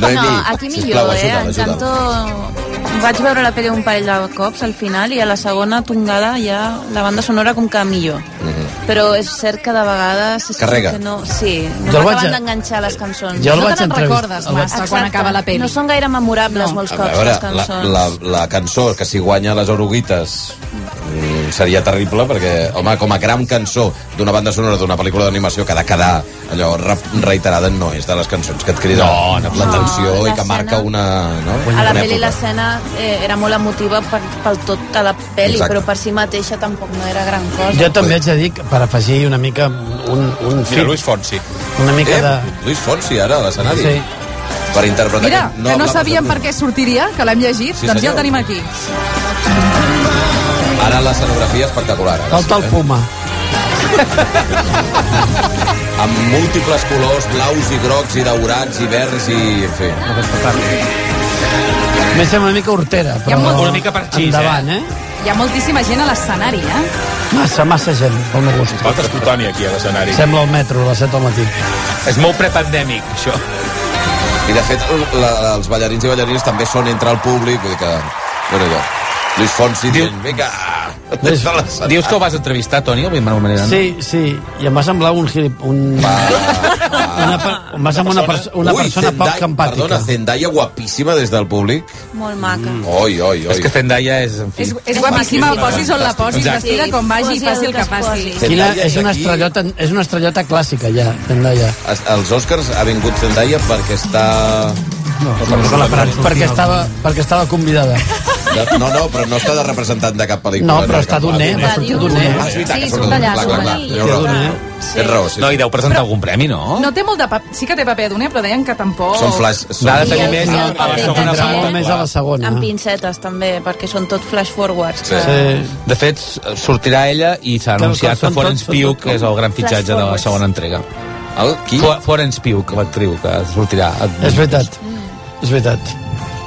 Speaker 3: Noemi,
Speaker 7: No, aquí
Speaker 3: sisplau,
Speaker 7: millor, eh?
Speaker 3: ajuda'm,
Speaker 7: En
Speaker 3: ajuda'm.
Speaker 7: Janto... Vaig veure la pel·li un parell de cops al final i a la segona tongada ja la banda sonora com que millor. Però és cert que de vegades... És
Speaker 3: Carrega.
Speaker 7: Que no, sí,
Speaker 5: Jo
Speaker 7: no
Speaker 5: el vaig
Speaker 7: m'acaben
Speaker 5: a-
Speaker 7: d'enganxar les cançons.
Speaker 5: Jo el
Speaker 7: no
Speaker 5: vaig
Speaker 7: te n'en
Speaker 5: entrevistar-
Speaker 7: recordes
Speaker 5: el vaig-
Speaker 7: massa quan
Speaker 8: Exacte.
Speaker 7: acaba la pel·li. No són gaire memorables molts
Speaker 3: A
Speaker 7: cops
Speaker 3: veure, la,
Speaker 7: les cançons.
Speaker 3: la, la cançó que si guanya les oruguites mm, seria terrible perquè, home, com a gran cançó d'una banda sonora d'una pel·lícula d'animació que ha de quedar allò rep- reiterada no és de les cançons que et crida
Speaker 10: No, no,
Speaker 3: l'atenció
Speaker 7: no,
Speaker 3: i que
Speaker 7: l'escena-
Speaker 3: marca una... No?
Speaker 7: A la
Speaker 3: una
Speaker 7: pel·li
Speaker 3: època.
Speaker 7: l'escena eh, era molt emotiva per, pel tot de la pel·li,
Speaker 5: Exacte.
Speaker 7: però per si mateixa tampoc no era gran cosa.
Speaker 5: Jo també haig de dir, que, per afegir una mica un, un
Speaker 3: Mira,
Speaker 5: fil,
Speaker 3: Luis Fonsi.
Speaker 5: una mica
Speaker 3: Eh,
Speaker 5: de...
Speaker 3: Luis Fonsi, ara, a l'escenari.
Speaker 5: Sí.
Speaker 3: Per interpretar...
Speaker 8: Mira,
Speaker 3: aquest
Speaker 8: que no
Speaker 3: hablamos
Speaker 8: sabíem
Speaker 3: de-
Speaker 8: per què sortiria, que l'hem llegit,
Speaker 3: Sí,
Speaker 8: doncs ja
Speaker 3: senyor.
Speaker 8: el tenim aquí.
Speaker 3: Ara l'escenografia espectacular. Ara, eh?
Speaker 5: Falta el puma.
Speaker 3: amb múltiples colors, blaus i grocs i daurats i verds i... En fi.
Speaker 5: M'he sembla una mica hortera, però...
Speaker 8: molt-
Speaker 10: Una mica parxís, eh?
Speaker 5: endavant, eh?
Speaker 8: Hi ha moltíssima gent a l'escenari, eh?
Speaker 5: Massa, massa gent, pel meu gust.
Speaker 1: Falta escutani aquí a l'escenari.
Speaker 5: Sembla el metro a les 7 del matí.
Speaker 10: És molt prepandèmic, això.
Speaker 3: I de fet, la, la, els ballarins i ballarines també són entre el públic, vull dir que... Bueno, jo. Lluís Fonsi Diu... dient, vinga... des de l'escenari.
Speaker 10: Dius que ho vas entrevistar, Toni, avui, Manuel Miranda?
Speaker 5: Sí, sí, i em va semblar un gilip... Un... Una, per... em va semblar una, perso una
Speaker 3: Ui,
Speaker 5: persona
Speaker 3: Zendaya-
Speaker 5: poc campàtica.
Speaker 3: Perdona, Zendaya guapíssima des del públic. Mm.
Speaker 7: Molt maca.
Speaker 3: Oi, oi, oi. És que
Speaker 10: Zendaya és, en
Speaker 8: És, és guapíssima, el posis on la posis,
Speaker 3: Exacte.
Speaker 8: vestida com vagi,
Speaker 7: Posi
Speaker 8: faci el
Speaker 7: el
Speaker 8: que
Speaker 7: que es
Speaker 8: faci.
Speaker 3: posi.
Speaker 5: Quina,
Speaker 3: Zendaya
Speaker 5: és, una
Speaker 3: aquí-
Speaker 5: estrellota, és una estrellota clàssica, ja, Zendaya.
Speaker 3: Es- Als Oscars ha vingut Zendaya perquè està... No,
Speaker 5: perquè estava, perquè estava convidada.
Speaker 3: No, no, però no està de representant de cap pel·lícula.
Speaker 5: No, però
Speaker 3: de
Speaker 5: està
Speaker 3: cap
Speaker 5: doner,
Speaker 3: pel·lícula.
Speaker 5: va sortir doner.
Speaker 3: Ah, és veritat,
Speaker 8: Sí,
Speaker 3: que
Speaker 8: surt allà,
Speaker 3: Clar,
Speaker 8: surt
Speaker 3: clar, clar,
Speaker 8: allà.
Speaker 3: tens raó.
Speaker 8: Doner.
Speaker 3: Tens raó, sí.
Speaker 10: No, i deu presentar algun premi, no?
Speaker 8: No té molt de paper, sí que té paper doner, però deien que tampoc...
Speaker 10: Són flash- són- Va de tenir més a la
Speaker 8: paper
Speaker 10: segona
Speaker 8: també.
Speaker 10: part.
Speaker 5: Més a la segona.
Speaker 7: Amb pincetes, també, perquè són tot flash forwards.
Speaker 10: Sí. De fet, sortirà ella i s'ha
Speaker 5: Clar,
Speaker 10: anunciat
Speaker 5: com
Speaker 10: que
Speaker 5: són
Speaker 10: Florence
Speaker 5: tots,
Speaker 10: Pugh,
Speaker 5: tot com-
Speaker 10: que és el gran fitxatge de la
Speaker 5: Flash
Speaker 10: segona entrega.
Speaker 3: El, qui?
Speaker 10: Florence Pugh, que l'actriu, que sortirà.
Speaker 5: És veritat, és veritat.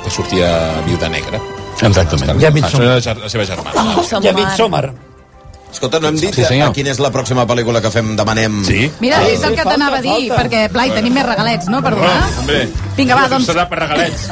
Speaker 1: Que sortia Viuda Negra.
Speaker 10: Exactament.
Speaker 5: Ja
Speaker 1: Ah,
Speaker 5: mitjum.
Speaker 1: això era la, ger- la seva germana.
Speaker 5: Ja vist Sommer.
Speaker 3: Escolta, no hem dit
Speaker 10: Sí, senyor.
Speaker 3: a quina és la pròxima pel·lícula que fem, demanem... Ah. Sí?
Speaker 8: Mira, és el que t'anava a dir, perquè, Blai, tenim més regalets, no? Perdona.
Speaker 3: Hombre,
Speaker 8: Vinga, va, doncs...
Speaker 1: Serà per regalets.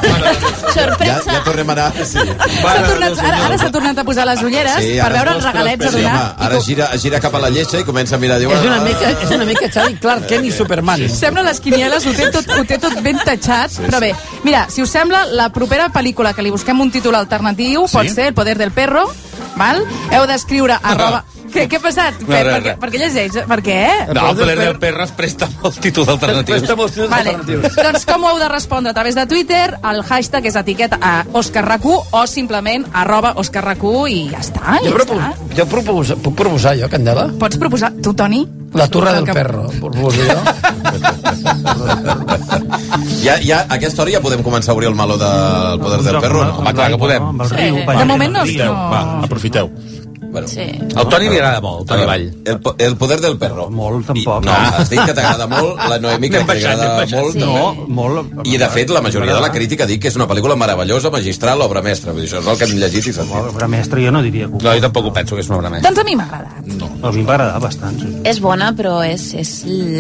Speaker 3: ja, ja tornem a anar... Sí.
Speaker 8: S'ha tornat, ara ara s'ha tornat a posar les ulleres
Speaker 3: Sí,
Speaker 8: per
Speaker 3: ara es
Speaker 8: veure els
Speaker 3: mostra
Speaker 8: regalets a
Speaker 3: després.
Speaker 8: donar.
Speaker 3: Sí, home, ara gira, gira cap a la lleixa i comença a mirar... Diu,
Speaker 5: És una
Speaker 3: ah,
Speaker 5: mica, és una mica Xavi Clark Kent i Superman.
Speaker 8: Sembla les quinieles, ho té tot, ho té tot ben tatxat, però bé. Mira, si us sembla, la propera pel·lícula que li busquem un títol alternatiu pot ser El poder del perro, val? Heu d'escriure arroba... Què, què ha passat?
Speaker 10: No,
Speaker 8: per,
Speaker 10: res,
Speaker 8: per, què,
Speaker 10: res.
Speaker 8: per què llegeix? Per què?
Speaker 10: No, el Poder del Perro es presta molts títols alternatius.
Speaker 5: Presta molts títols
Speaker 8: Vale. Doncs com ho heu de respondre? A través de Twitter, el hashtag és etiqueta a OscarRAC1 o simplement arroba OscarRAC1 i ja està.
Speaker 5: Jo,
Speaker 8: Ja
Speaker 5: propo,
Speaker 8: està.
Speaker 5: jo proposo, puc proposar jo, Candela?
Speaker 8: Pots proposar... Tu, Toni?
Speaker 5: La torre del
Speaker 8: Que-
Speaker 5: perro, proposo jo.
Speaker 3: Ja, ja, a aquesta hora ja podem començar a obrir el meló del poder del perro, no? Home, clar que podem.
Speaker 2: Amb el riu,
Speaker 8: De moment no. no.
Speaker 1: aprofiteu.
Speaker 3: Bueno.
Speaker 8: Sí.
Speaker 3: El Toni li agrada molt, Toni Vall. Ah, El, po- el poder del perro.
Speaker 2: Molt, tampoc.
Speaker 3: No, has dit que t'agrada molt, la Noemi que
Speaker 2: Anem baixant,
Speaker 3: t'agrada
Speaker 2: anem baixant.
Speaker 3: molt.
Speaker 2: Sí. No, molt.
Speaker 3: I, de fet, la majoria de la crítica diu que és una pel·lícula meravellosa, magistral, obra mestra. Vull dir, això és el que hem llegit i sentit.
Speaker 2: Obra mestra jo no diria que...
Speaker 10: No, jo tampoc ho penso que és una obra mestra.
Speaker 8: Doncs a mi m'agrada.
Speaker 2: A mi em va agradar bastant, sí.
Speaker 7: És bona, però és, és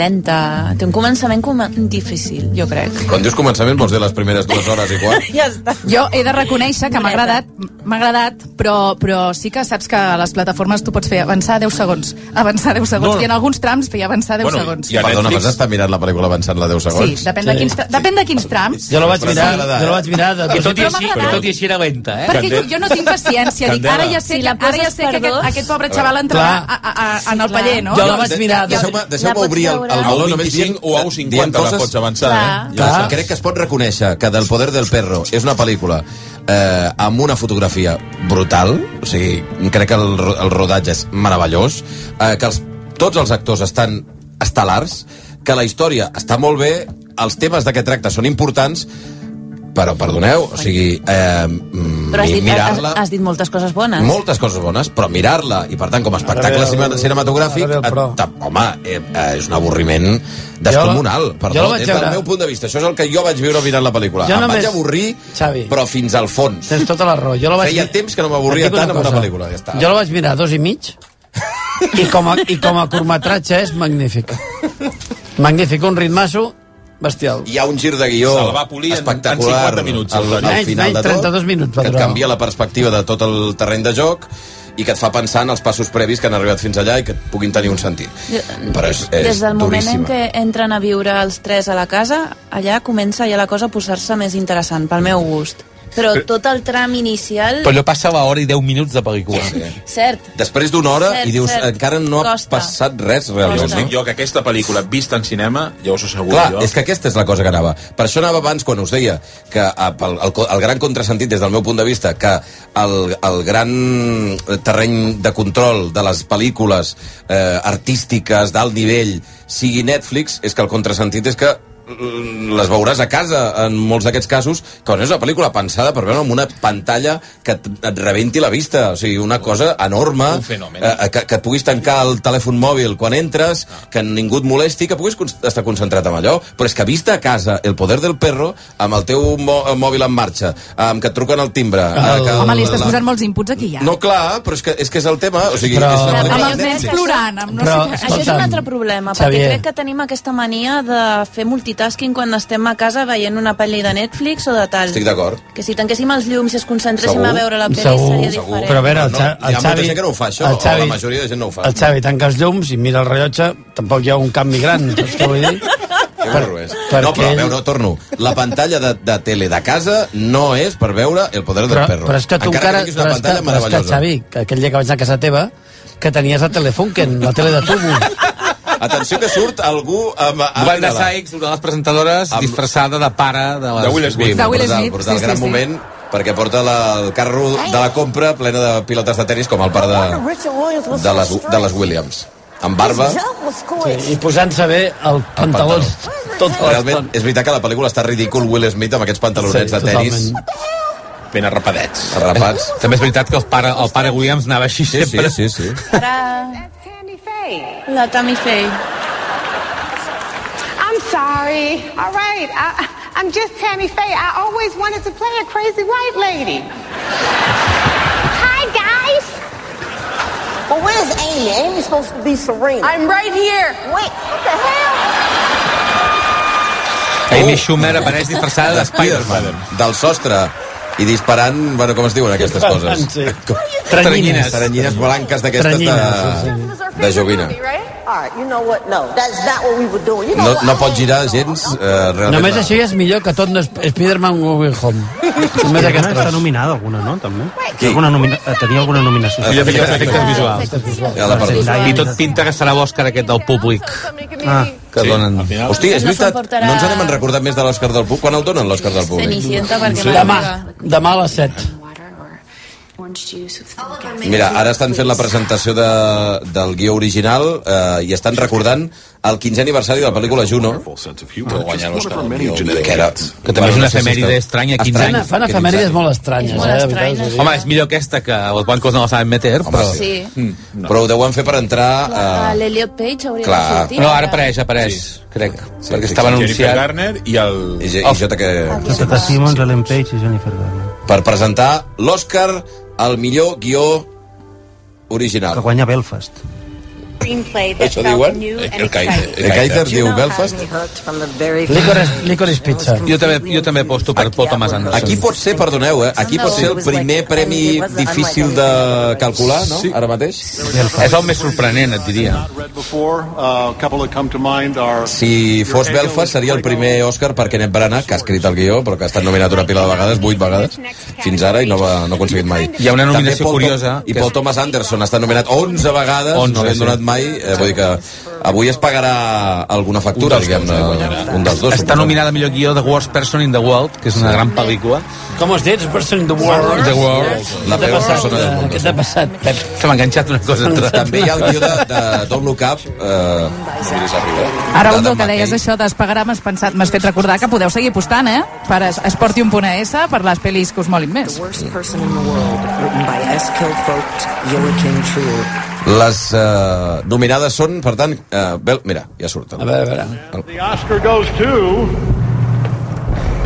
Speaker 7: lenta. Té un començament com difícil, jo crec.
Speaker 3: Quan dius començament vols dir les primeres dues hores i quart?
Speaker 7: Ja està.
Speaker 8: Jo he de reconèixer que m'ha agradat, m'ha agradat, però, però sí que saps que la les plataformes tu pots fer avançar 10 segons, avançar 10 segons,
Speaker 3: No.
Speaker 8: no. i en alguns trams feia avançar 10
Speaker 3: Bueno,
Speaker 8: segons.
Speaker 3: I a Perdona, Netflix... vas estar mirant la pel·lícula avançant la 10
Speaker 8: Sí,
Speaker 3: segons?
Speaker 8: depèn, De quins, tra- depèn de quins trams.
Speaker 3: Jo la vaig mirar, jo la vaig
Speaker 5: mirar de...
Speaker 10: I tot i
Speaker 8: Però
Speaker 10: així,
Speaker 8: m'ha agradat.
Speaker 10: tot i així era lenta, eh?
Speaker 8: Perquè jo, jo no tinc paciència. Dic,
Speaker 10: Candela.
Speaker 8: ara ja sé,
Speaker 7: Si
Speaker 8: que,
Speaker 7: la
Speaker 8: ara ja
Speaker 7: poses
Speaker 8: sé que
Speaker 7: per
Speaker 8: aquest,
Speaker 7: dos-
Speaker 8: aquest pobre xaval entrarà a, a, a, en el paller, no?
Speaker 3: Deixeu-me deixeu obrir el, el meló només dient...
Speaker 1: o a un 50 la pots avançar, eh?
Speaker 3: Clar. Clar. Crec que es pot reconèixer que Del poder del perro és una pel·lícula eh, amb una fotografia brutal, o sigui, crec que el, ro- el rodatge és meravellós, eh, que els, tots els actors estan estel·lars, que la història està molt bé, els temes de què tracta són importants, però, perdoneu, o sigui, eh, mm,
Speaker 7: Però has dit, has,
Speaker 3: mirar-la...
Speaker 7: has dit moltes coses bones.
Speaker 3: Moltes coses bones, però mirar-la, i per tant, com a espectacle
Speaker 5: Ara ve el-
Speaker 3: cine- cinematogràfic,
Speaker 5: ara ve el però.
Speaker 3: et- tap- home, eh, eh, és un avorriment descomunal.
Speaker 5: jo
Speaker 3: Perdó,
Speaker 5: la vaig
Speaker 3: des del
Speaker 5: veure.
Speaker 3: meu punt de vista. Això és el que jo vaig viure mirant la pel·lícula.
Speaker 5: Jo
Speaker 3: Jo em
Speaker 5: només-
Speaker 3: vaig avorrir,
Speaker 5: Xavi.
Speaker 3: però fins al fons.
Speaker 5: Tens tota la raó. Jo la vaig
Speaker 3: Feia temps que no m'avorria
Speaker 5: Et dic
Speaker 3: tant amb una pel·lícula, ja està.
Speaker 5: Jo la vaig mirar a dos i mig i com a, i com a curtmetratge és magnífic. Magnífic, un ritmasso bestial.
Speaker 3: Hi ha un gir de guió
Speaker 1: Se la va polir en- en
Speaker 3: espectacular
Speaker 1: 50 minuts,
Speaker 3: al,
Speaker 1: el
Speaker 3: al
Speaker 5: Menys-
Speaker 3: final
Speaker 5: menys
Speaker 3: de tot,
Speaker 5: 32 minuts va
Speaker 3: que et
Speaker 5: durar.
Speaker 3: canvia la perspectiva de tot el terreny de joc i que et fa pensar en els passos previs que han arribat fins allà i que puguin tenir un sentit. Però és, és
Speaker 7: Des del moment
Speaker 3: duríssima.
Speaker 7: en què entren a viure els tres a la casa, allà comença ja la cosa a posar-se més interessant, pel meu gust. Però tot el tram inicial...
Speaker 10: Però allò passava hora i 10 minuts de pel·lícula.
Speaker 7: Cert,
Speaker 3: Després d'una hora
Speaker 7: Cert,
Speaker 3: i dius,
Speaker 7: cert.
Speaker 3: encara no ha
Speaker 7: Costa.
Speaker 3: passat res
Speaker 1: Jo
Speaker 3: realment.
Speaker 1: us dic jo que aquesta pel·lícula, vista en cinema, ja us asseguro
Speaker 3: Clar,
Speaker 1: jo...
Speaker 3: és que aquesta és la cosa que anava. Per això anava abans quan us deia que a, pel, el, co- el gran contrasentit des del meu punt de vista que el, el gran terreny de control de les pel·lícules eh, artístiques d'alt nivell sigui Netflix, és que el contrasentit és que mm, les veuràs a casa en molts d'aquests casos, quan és una pel·lícula pensada per veure amb una pantalla que et, et rebenti la vista, o sigui, una cosa enorme,
Speaker 1: Un fenomen.
Speaker 3: eh, que, que et puguis tancar el telèfon mòbil quan entres, que ningú et molesti, que puguis con- estar concentrat en allò, però és que vista a casa el poder del perro, amb el teu mò mòbil en marxa, amb que et truquen al timbre... eh, que
Speaker 8: Home, li estàs
Speaker 3: la-
Speaker 8: posant molts inputs aquí, ja.
Speaker 3: No, clar, però és que és, que és el tema... O sigui,
Speaker 5: Però-
Speaker 3: és una
Speaker 5: Però-
Speaker 3: pel·lícula
Speaker 8: amb els
Speaker 3: de
Speaker 8: nens
Speaker 3: Netflix.
Speaker 8: plorant, amb no
Speaker 5: Però,
Speaker 8: sé què.
Speaker 7: Això és un
Speaker 5: Escolta'm,
Speaker 7: altre problema,
Speaker 5: Xavier.
Speaker 7: perquè crec que tenim aquesta mania de fer multitasking quan estem a casa veient una pel·li de Netflix o de tal.
Speaker 3: Estic d'acord.
Speaker 7: Que si tanquéssim els llums i es concentréssim
Speaker 3: Segur,
Speaker 7: a veure la pel·li seria diferent.
Speaker 5: Però a veure, el,
Speaker 3: No,
Speaker 5: Xa,
Speaker 3: hi ha
Speaker 5: el
Speaker 3: molta
Speaker 5: Xavi...
Speaker 3: gent que no ho fa, això,
Speaker 5: el
Speaker 3: o la majoria de gent no ho fa.
Speaker 5: El Xavi tanca els llums i mira el rellotge, tampoc hi ha un canvi gran, saps què vull dir?
Speaker 3: Que burro és.
Speaker 5: perquè
Speaker 3: No, però a
Speaker 5: ell-
Speaker 3: veure, torno. La pantalla de, de tele de casa no és per veure El poder del
Speaker 5: però,
Speaker 3: perro.
Speaker 5: Però és que tu encara...
Speaker 3: que és
Speaker 5: però
Speaker 3: una
Speaker 5: és que,
Speaker 3: pantalla
Speaker 5: però és que,
Speaker 3: meravellosa.
Speaker 5: Xavi, que aquell dia que vaig anar a casa teva, que tenies el Telefunken, la tele de tubo.
Speaker 3: Atenció que surt algú amb... amb
Speaker 10: Wanda Sykes, una de les presentadores, amb... disfressada de pare de, les...
Speaker 3: De Will Smith.
Speaker 8: De Will Smith,
Speaker 3: Brutal, brutal,
Speaker 8: sí,
Speaker 3: gran
Speaker 8: sí, sí.
Speaker 3: moment perquè porta la, el carro de la compra plena de pilotes de tennis com el pare de, de, les, de les Williams. Amb barba.
Speaker 5: Sí, I posant-se bé el pantaló tota
Speaker 3: Realment, és veritat que la pel·lícula està ridícul Will Smith amb aquests pantalonets
Speaker 5: Sí,
Speaker 3: de tennis
Speaker 1: Ben arrapadets.
Speaker 3: arrapats.
Speaker 10: També és veritat que el pare, el pare Williams anava així sí, sempre.
Speaker 3: Sí, sí,
Speaker 7: Ara... La Tammy Faye.
Speaker 19: I'm sorry. All right. I, I'm just Tammy Faye. I always wanted to play a crazy white lady. Hi, guys. Well, where's Amy? Amy's supposed to be Serena. I'm right here. Wait, what the hell?
Speaker 10: Amy Schumer apareix disfressada de Spider-Man.
Speaker 3: Del sostre i disparant, bueno, com es diuen aquestes coses?
Speaker 5: Sí.
Speaker 3: Tranyines. Tranyines blanques d'aquestes de,
Speaker 5: Tranyines,
Speaker 3: de joguina.
Speaker 19: All right, you know what? No, that's not what we were doing. You know
Speaker 3: No,
Speaker 19: what?
Speaker 3: no pot girar gens, eh, realment.
Speaker 5: Només
Speaker 3: la-
Speaker 5: això ja és millor que tot no és Spider-Man Go Way Home. Només aquest
Speaker 2: Està
Speaker 5: tros.
Speaker 2: nominada alguna, no? També. Alguna nomina... eh, Tenia alguna nominació.
Speaker 10: Sí, millor efectes visuals.
Speaker 3: Ja l'ha perdut.
Speaker 10: I tot pinta que serà l'Òscar aquest del públic.
Speaker 2: Ah.
Speaker 10: Que
Speaker 3: Sí,
Speaker 10: donen...
Speaker 3: Hosti, és
Speaker 7: No se'n
Speaker 3: veritat,
Speaker 7: portarà-
Speaker 3: no ens n'hem recordat més de l'Òscar del Públic. Quan el donen, l'Òscar del Públic?
Speaker 7: Cenicienta, perquè
Speaker 3: Sí.
Speaker 7: sí.
Speaker 3: Demà.
Speaker 5: Demà a les 7.
Speaker 3: Mira, ara estan fent la presentació de, del guió original eh, i estan recordant el 15è aniversari de la pel·lícula Juno, que va guanyar l'Òscar del guió, que, era,
Speaker 10: Que també és una efemèride estranya, 15
Speaker 5: Fan,
Speaker 10: anys.
Speaker 5: fan efemèrides molt estranyes.
Speaker 7: molt
Speaker 5: eh, de
Speaker 7: estrany,
Speaker 5: veritat,
Speaker 7: no?
Speaker 5: us ho dic.
Speaker 10: Home, és millor aquesta que els bancos no la saben meter, però...
Speaker 7: Sí.
Speaker 3: No. Però ho deuen fer per entrar...
Speaker 7: Ah,
Speaker 3: Eh,
Speaker 7: L'Eliot Page hauria
Speaker 3: clar.
Speaker 7: de sortir.
Speaker 10: No, ara apareix, apareix, crec. perquè estava
Speaker 1: Jennifer
Speaker 10: anunciat... Oh.
Speaker 1: Garner i el...
Speaker 3: i, jo- i jo que...
Speaker 2: Tata Simons, Ellen Page i Jennifer Garner.
Speaker 3: Per presentar l'Òscar al millor guió original.
Speaker 2: Que guanya Belfast.
Speaker 20: screenplay that
Speaker 3: Això
Speaker 20: felt
Speaker 3: diuen?
Speaker 20: new and
Speaker 3: El Kaiser.
Speaker 20: exciting.
Speaker 3: El Kaiser diu Belfast.
Speaker 5: Licorice, licorice pizza.
Speaker 10: Jo també, jo també aposto per Paul Thomas Anderson.
Speaker 3: Aquí pot ser, perdoneu, eh? Aquí pot ser el primer premi difícil de calcular, no?
Speaker 10: Sí.
Speaker 3: Ara mateix?
Speaker 10: És el més sorprenent, et diria.
Speaker 21: before. Uh, a couple that come to mind are
Speaker 3: Si fos Belfast, seria el primer Òscar per Kenneth Branagh, que ha escrit el guió, però que ha estat nominat una pila de vegades, vuit vegades, fins ara, i no, va, no ha aconseguit mai.
Speaker 10: Hi ha una
Speaker 3: També
Speaker 10: nominació
Speaker 3: Paul Tom-
Speaker 10: curiosa,
Speaker 3: I Paul Thomas Anderson ha estat nominat 11 vegades,
Speaker 10: 11,
Speaker 3: no li
Speaker 10: sí.
Speaker 3: han donat mai, eh, vull dir que avui es pagarà alguna factura, diguem-ne, un dels dos.
Speaker 10: Està nominada a millor guió de Worst Person in the World, que és una gran pel·lícula.
Speaker 5: Com has dit? Person in the world.
Speaker 10: The world.
Speaker 5: La peor persona del
Speaker 10: món.
Speaker 5: Què t'ha passat, Pep?
Speaker 10: Se m'ha enganxat una cosa. entre-
Speaker 3: També hi ha el guió de, de Don't Look Up, eh, no miris arriba.
Speaker 8: Ara, un que deies això d'espagarà, m'has pensat, m'has fet recordar que podeu seguir apostant, eh? Per es- esportium.es, per les pel·lis que us molin més.
Speaker 3: Les eh, nominades són, per tant... Eh, Bel... Mira, ja surten. A veure, a veure.
Speaker 21: the Oscar goes to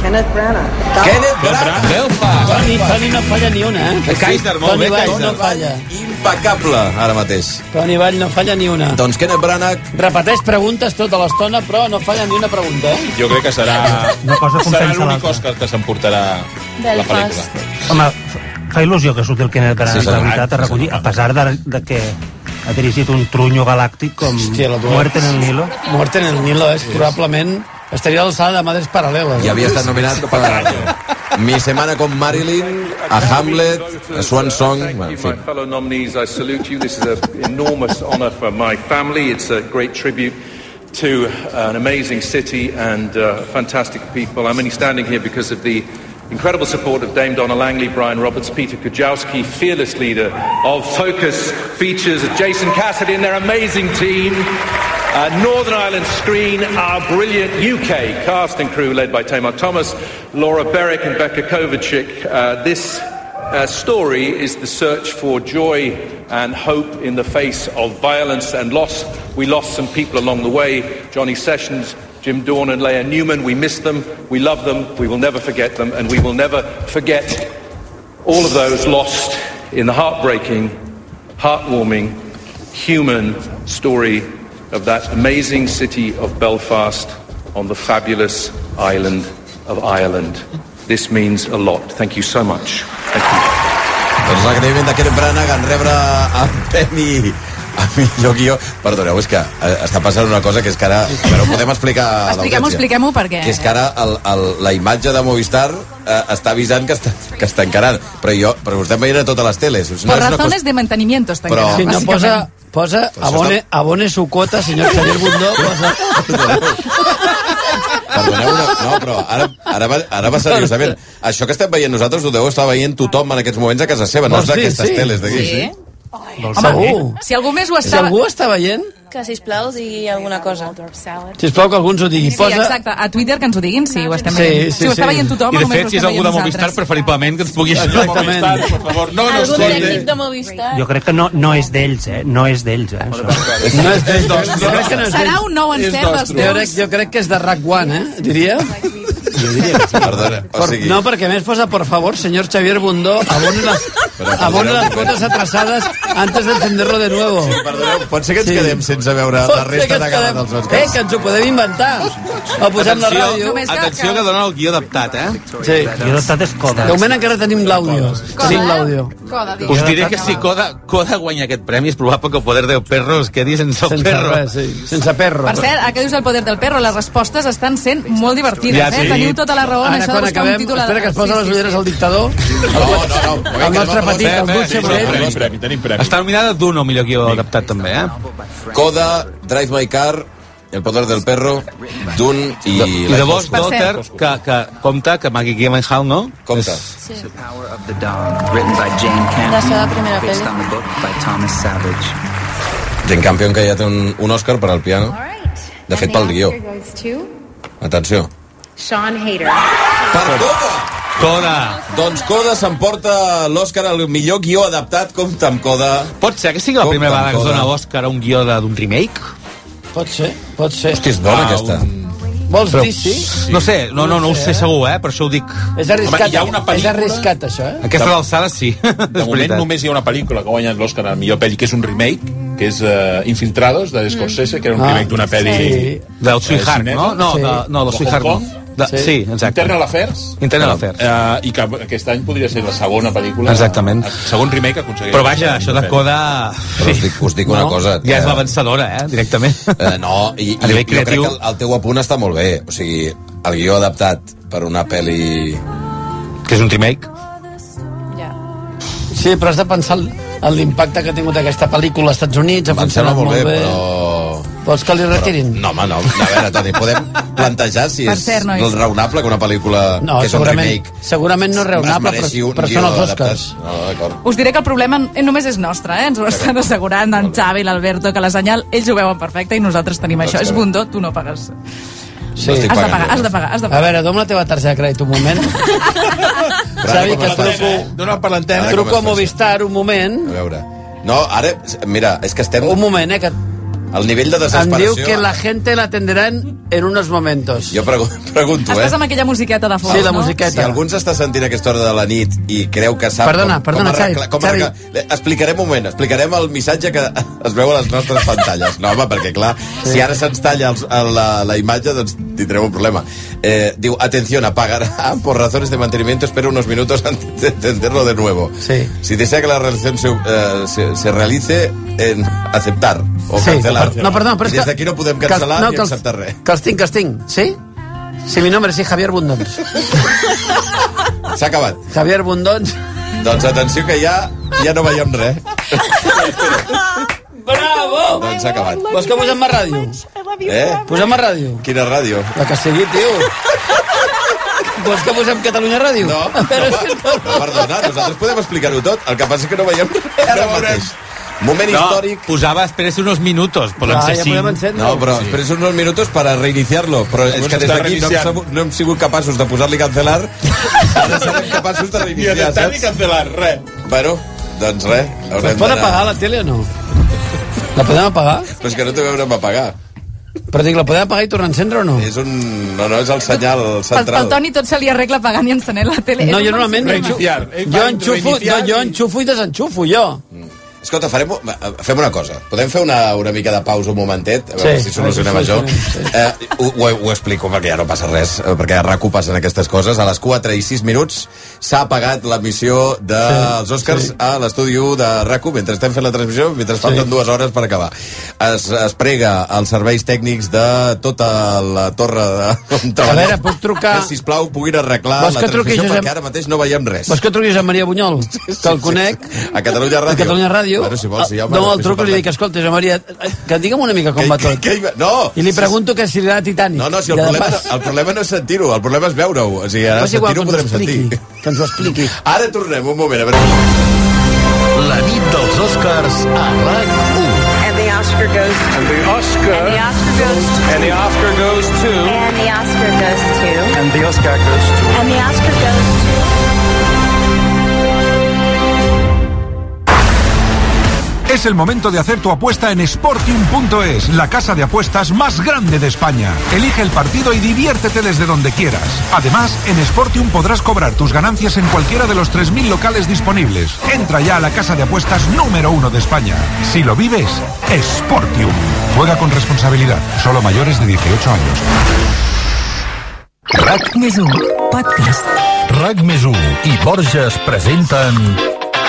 Speaker 5: Kenneth Branagh.
Speaker 3: Kenneth Branagh. Belfast.
Speaker 5: Toni, Toni no falla ni una, eh?
Speaker 3: Kaiser, molt bé,
Speaker 5: Toni Vall
Speaker 3: Kaiser.
Speaker 5: no falla.
Speaker 3: Impecable, ara mateix.
Speaker 5: Toni Vall no falla ni una.
Speaker 3: Doncs Kenneth Branagh...
Speaker 5: Repeteix preguntes tota l'estona, però no falla ni una pregunta, eh?
Speaker 1: Jo crec que serà...
Speaker 2: Una cosa eh?
Speaker 1: serà
Speaker 2: compensa
Speaker 1: l'únic
Speaker 2: l'altra.
Speaker 1: Òscar que s'emportarà la pel·lícula.
Speaker 2: Home, f- fa il·lusió que surti el Kenneth Branagh,
Speaker 1: Sí,
Speaker 2: sí, la
Speaker 1: sí,
Speaker 2: veritat,
Speaker 1: sí,
Speaker 2: a recollir, a pesar de, de que ha dirigit un trunyo galàctic com
Speaker 5: Hòstia, la dues.
Speaker 2: Muerte en el Nilo.
Speaker 5: Mort en el Nilo és probablement... Estaria a l'alçada de Madres eh? Paral·leles.
Speaker 3: Ja havia estat nominat per Mi Semana con Marilyn, a Hamlet, a Swan Song... Bueno, en fi.
Speaker 22: My fellow nominees, I salute you. This is an enormous honour for my family. It's a great tribute to uh, an amazing city and uh, fantastic people. I'm only standing here because of the incredible support of Dame Donna Langley, Brian Roberts, Peter Kujawski, fearless leader of Focus Features, Jason Cassidy and their amazing team. Uh, Northern Ireland Screen, our brilliant UK cast and crew led by Tamar Thomas, Laura Berwick and Becca Kovacic. Uh, this uh, story is the search for joy and hope in the face of violence and loss. We lost some people along the way Johnny Sessions, Jim Dorn, and Leah Newman. We miss them, we love them, we will never forget them, and we will never forget all of those lost in the heartbreaking, heartwarming, human story of that amazing city of Belfast on the fabulous island of Ireland. This means a lot. Thank you so much.
Speaker 3: Doncs l'agraïment de Kenneth Branagh en rebre el premi a millor guió. Perdoneu, és que eh, està passant una cosa que és que ara... A veure, ho podem explicar a
Speaker 8: Expliquem-ho,
Speaker 3: l'audiència?
Speaker 8: expliquem-ho, perquè...
Speaker 3: que és que ara el, el, la imatge de Movistar eh, està avisant que, està, que es tancaran. Però jo, però ho estem veient a totes les teles. No
Speaker 8: Por
Speaker 3: és una
Speaker 8: razones de mantenimiento estan
Speaker 3: Però-
Speaker 8: quedant,
Speaker 3: Sí, no,
Speaker 8: bàsicament.
Speaker 5: posa- Posa, abone, abone su cuota, senyor Xavier Bundó. Posa...
Speaker 3: Perdoneu, una... no, però ara, ara, va, ara va seriosament. Això que estem veient nosaltres ho deu estar veient tothom en aquests moments a casa seva, no és
Speaker 5: Vols dir,
Speaker 3: d'aquestes
Speaker 5: sí?
Speaker 3: teles d'aquí.
Speaker 5: Sí.
Speaker 8: Home, eh,
Speaker 5: Segur.
Speaker 8: si algú més ho
Speaker 5: Si
Speaker 8: estava...
Speaker 5: algú està veient,
Speaker 7: Que, sisplau, digui alguna cosa.
Speaker 5: sisplau que algú ens ho digui.
Speaker 8: Sí, exacte, a Twitter que ens ho diguin si ho estem
Speaker 5: Sí,
Speaker 8: veient.
Speaker 5: sí,
Speaker 8: si ho
Speaker 5: sí.
Speaker 8: està veient tothom,
Speaker 10: I
Speaker 8: o
Speaker 10: de
Speaker 8: només
Speaker 10: fet,
Speaker 8: ho
Speaker 10: si és
Speaker 8: estem
Speaker 10: algú de
Speaker 8: veient
Speaker 10: Movistar,
Speaker 8: nosalment.
Speaker 10: preferiblement que ens pugui
Speaker 5: Exactament.
Speaker 10: Movistar, per favor. No, no,
Speaker 7: Algun tècnic
Speaker 10: sí.
Speaker 7: de Movistar?
Speaker 2: Jo crec que no, no és d'ells, eh? No és d'ells, eh? Això.
Speaker 5: No és d'ells, doncs. Jo crec que no és
Speaker 8: Serà
Speaker 5: d'ells.
Speaker 8: un nou
Speaker 5: És
Speaker 8: encert dels
Speaker 5: nostre. Jo crec,
Speaker 8: teus.
Speaker 5: jo crec que és de RAC1, eh? Diria. eh?
Speaker 3: Perdona, o
Speaker 5: Por,
Speaker 3: sigui...
Speaker 5: no, perquè a més posa, por favor, señor Xavier Bundó, abone las, abone las cuotas atrasadas antes de encenderlo de nuevo.
Speaker 3: Perdoneu, pot ser que ens quedem sense veure la
Speaker 5: Pot ser que
Speaker 3: resta
Speaker 5: ens
Speaker 3: de gala
Speaker 5: quedem-
Speaker 3: dels
Speaker 5: Eh,
Speaker 3: Oscars.
Speaker 5: que ens ho podem inventar. O posem la ràdio.
Speaker 10: atenció que dona el guió adaptat, eh?
Speaker 5: Sí. Guió
Speaker 2: adaptat és coda.
Speaker 5: De moment encara tenim l'àudio.
Speaker 8: eh?
Speaker 5: Tenim l'àudio.
Speaker 8: Coda, digues.
Speaker 10: Us diré que si Coda, Coda guanya aquest premi és probable que el poder del perro es quedi sense el
Speaker 5: Sense
Speaker 10: perro.
Speaker 5: res, sí. Sense perro.
Speaker 8: Per cert, a què dius el poder del perro? Les respostes estan sent molt divertides,
Speaker 5: Ja,
Speaker 8: eh?
Speaker 5: sí.
Speaker 8: Teniu tota la raó en
Speaker 5: Ara,
Speaker 8: això de
Speaker 5: quan
Speaker 8: buscar
Speaker 5: acabem,
Speaker 8: un títol...
Speaker 5: espera que es posa les ulleres al dictador.
Speaker 3: No, no, eh,
Speaker 5: El nostre petit, el Dulce Moret.
Speaker 10: premi, tenim premi. Està nominada Duno, millor guió adaptat també, eh?
Speaker 3: Coda, Drive My Car, El poder del perro, Dune i...
Speaker 10: I de Boss Daughter, que, que compta, que Maggie Gyllenhaal, no?
Speaker 3: Compta.
Speaker 7: Sí.
Speaker 23: Written by Jane
Speaker 7: La seva primera
Speaker 23: based
Speaker 7: pel·li.
Speaker 23: on the book by Thomas Savage.
Speaker 3: Jane Campion, que ja té un, un Òscar per al piano. De fet, pel guió. Atenció.
Speaker 20: Sean Hader.
Speaker 3: Per Coda! Coda! Doncs Coda s'emporta l'Òscar al millor guió adaptat, compta amb Coda.
Speaker 10: Pot ser que sigui la
Speaker 3: Compta
Speaker 10: primera
Speaker 3: amb
Speaker 10: vegada que es
Speaker 3: Coda.
Speaker 10: dona Òscar a un guió de- d'un remake?
Speaker 5: Pot ser, pot ser.
Speaker 3: Hòstia, és bona, aquesta.
Speaker 5: Vols dir sí?
Speaker 10: No sé, no, no, no ho sé segur, eh? Per això ho dic.
Speaker 5: És arriscat,
Speaker 10: Home, hi ha una
Speaker 5: és
Speaker 10: pel·lícula-
Speaker 5: arriscat això, eh?
Speaker 10: Aquesta d'alçada, sí.
Speaker 1: De moment només hi ha una pel·lícula que ha guanyat l'Oscar a la millor pel·li, que és un remake, que és eh, Infiltrados, de Scorsese, que era un
Speaker 10: Ah,
Speaker 1: remake d'una pel·li...
Speaker 10: sí. Del Sweetheart,
Speaker 1: eh,
Speaker 10: no? No, Sí. de- no, del Sweetheart no. De- Sí. sí, exacte.
Speaker 1: Internal Affairs.
Speaker 10: Internal Affairs.
Speaker 1: Eh, I que aquest any podria ser la segona pel·lícula.
Speaker 10: Exactament.
Speaker 1: El segon remake aconsegueix.
Speaker 10: Però vaja, això de coda...
Speaker 3: Però us dic, us dic una
Speaker 10: No?
Speaker 3: cosa...
Speaker 10: Ja és la vencedora, eh? Directament.
Speaker 3: Eh, no, i, i
Speaker 10: A
Speaker 3: jo,
Speaker 10: nivell
Speaker 3: jo crec que
Speaker 10: creatiu-
Speaker 3: el, el teu apunt està molt bé. O sigui, el guió adaptat per una pel·li...
Speaker 10: Que és un remake?
Speaker 5: Sí, però has de pensar en- en l'impacte que ha tingut aquesta pel·lícula als Estats Units, ha
Speaker 3: Em sembla
Speaker 5: funcionat
Speaker 3: molt bé,
Speaker 5: Però...
Speaker 3: però...
Speaker 5: Vols que li retirin?
Speaker 3: No, home, no. A veure, Toni, podem plantejar si
Speaker 5: Per
Speaker 3: és
Speaker 5: cert, nois.
Speaker 3: raonable que una pel·lícula
Speaker 5: No,
Speaker 3: que és un
Speaker 5: segurament,
Speaker 3: remake
Speaker 5: segurament no és raonable, però, però són els Oscars.
Speaker 3: No, d'acord.
Speaker 8: Us diré que el problema eh, només és nostre, eh? ens ho estan assegurant en Xavi i l'Alberto, que la senyal ells ho veuen perfecte i nosaltres tenim això. És bundó, tu no pagues.
Speaker 5: Doncs Sí.
Speaker 8: Has de pagar, has de pagar, has de
Speaker 5: A
Speaker 8: pagar.
Speaker 5: veure, dóna'm la teva targeta de crèdit un moment. Xavi, que truco...
Speaker 1: Dóna'm per l'antena.
Speaker 5: Truco a Movistar un moment.
Speaker 3: A veure. No, ara, mira, és que estem...
Speaker 5: Un moment, eh, que...
Speaker 3: El nivell de
Speaker 5: Em
Speaker 3: desesperació...
Speaker 5: diu que la gent la atenderán en unos momentos.
Speaker 3: Jo pregun- pregunto, eh?
Speaker 8: Estàs amb aquella musiqueta de fons,
Speaker 3: Si-
Speaker 8: no?
Speaker 3: Si algú ens està sentint a aquesta hora de la nit i creu que sap...
Speaker 5: Perdona, perdona,
Speaker 3: com arregla,
Speaker 5: Xavi,
Speaker 3: com arregla, Explicarem un moment, explicarem el missatge que es veu a les nostres pantalles. No, home, perquè clar, si ara se'ns talla els, el- la, la imatge, doncs tindrem un problema. Eh, diu, atención, apagará por razones de mantenimiento, espera unos minutos antes de entenderlo de nuevo.
Speaker 5: Sí.
Speaker 3: Si desea que la relación se, eh, se, se realice, en aceptar o
Speaker 5: Sí,
Speaker 3: cancelar.
Speaker 5: no, perdona, però és
Speaker 3: I des
Speaker 5: que-
Speaker 3: d'aquí no podem
Speaker 5: que-
Speaker 3: cancel·lar
Speaker 5: no,
Speaker 3: ni
Speaker 5: que els-
Speaker 3: acceptar res.
Speaker 5: Que els tinc, que els tinc. Sí? Si mi nombre es Javier Bundons.
Speaker 3: S'ha acabat.
Speaker 5: Javier Bundons.
Speaker 3: Doncs atenció que ja, ja no veiem res.
Speaker 5: Bravo!
Speaker 3: Doncs s'ha acabat.
Speaker 5: Vols que posem a ràdio?
Speaker 3: Eh?
Speaker 5: Posem a ràdio.
Speaker 3: Quina ràdio?
Speaker 5: La que sigui, tio. Vols que posem Catalunya Ràdio? No. Però és que no.
Speaker 3: Perdona, nosaltres podem explicar-ho tot. El que passa és que no veiem res ara mateix. Moment
Speaker 10: no,
Speaker 3: històric.
Speaker 10: posava espérese unos minutos, poden
Speaker 3: Ah,
Speaker 10: ser
Speaker 3: ja
Speaker 10: cinc.
Speaker 3: podem encendre. No, però després uns minutos para reiniciarlo. Però és que des d'aquí no, hem sabut- no hem sigut capaços de posar-li cancelar. Ara serem capaços de
Speaker 1: Ni
Speaker 3: reiniciar,
Speaker 1: adaptar ni
Speaker 3: saps?
Speaker 1: cancel·lar, res.
Speaker 3: Bueno, doncs res.
Speaker 5: Es pot apagar la tele o no? La podem apagar?
Speaker 3: Però és que no te veurem apagar.
Speaker 5: Però dic, la podem apagar i tornar a encendre o no?
Speaker 3: És un... No, no, és el senyal
Speaker 8: Pel, pel
Speaker 3: central.
Speaker 8: Toni tot se li arregla pagant i encenent la tele.
Speaker 5: No, Eh,
Speaker 8: És
Speaker 5: jo
Speaker 8: un
Speaker 5: normalment...
Speaker 3: Reiniciar. Mm.
Speaker 5: Jo enxufo, no, jo enxufo i desenxufo, jo.
Speaker 3: Escolta, farem, eh, fem una cosa. Podem fer una, una mica de pausa un momentet? A veure
Speaker 5: Sí.
Speaker 3: sí, si solucionem
Speaker 5: Sí,
Speaker 3: això.
Speaker 5: sí,
Speaker 3: Eh, ho, ho, ho explico perquè ja no passa res, eh, perquè a RAC1 passen aquestes coses. A les 4 i 6 minuts s'ha apagat l'emissió dels sí, Oscars sí. a l'estudi 1 de RAC1 mentre estem fent la transmissió, mentre sí. falten dues hores per acabar. Es, es prega els serveis tècnics de tota la torre de, on
Speaker 5: A
Speaker 3: treballem.
Speaker 5: veure, puc trucar...
Speaker 3: que, sisplau, puguin arreglar
Speaker 5: Vols
Speaker 3: la
Speaker 5: que truqui,
Speaker 3: transmissió
Speaker 5: Josep?
Speaker 3: perquè ara mateix no veiem res.
Speaker 5: Vols que truquis a Maria Bunyol? Que el conec.
Speaker 3: A Catalunya Ràdio.
Speaker 5: A Catalunya Ràdio.
Speaker 3: Bueno, si vols, sí, home,
Speaker 5: no, el
Speaker 3: després
Speaker 5: truco i
Speaker 3: parlem.
Speaker 5: li dic, escolta, Josep Maria, eh, que digue'm una mica com va tot.
Speaker 3: Que, que, no!
Speaker 5: I li pregunto que si li agrada Titanic.
Speaker 3: No, no, si el
Speaker 5: I de
Speaker 3: problema,
Speaker 5: pas-
Speaker 3: el problema no és sentir-ho, el problema és veure-ho. O sigui, ara
Speaker 5: Però és igual,
Speaker 3: sentir-ho
Speaker 5: que
Speaker 3: podrem
Speaker 5: ens ho
Speaker 3: sentir.
Speaker 5: Que ens ho expliqui.
Speaker 3: Ara tornem, un moment, a veure...
Speaker 14: La nit dels Oscars a RAC1.
Speaker 12: And the Oscar goes to. And the Oscar. And the Oscar goes to. And the Oscar goes to. And the Oscar goes to. And the Oscar goes to. And the Oscar goes to.
Speaker 15: Es el momento de hacer tu apuesta en Sportium.es, la casa de apuestas más grande de España. Elige el partido y diviértete desde donde quieras. Además, en Sportium podrás cobrar tus ganancias en cualquiera de los 3.000 locales disponibles. Entra ya a la casa de apuestas número uno de España. Si lo vives, Sportium. Juega con responsabilidad, solo mayores de 18 años.
Speaker 14: RAC més 1, podcast. RAC més 1 i Borges presenten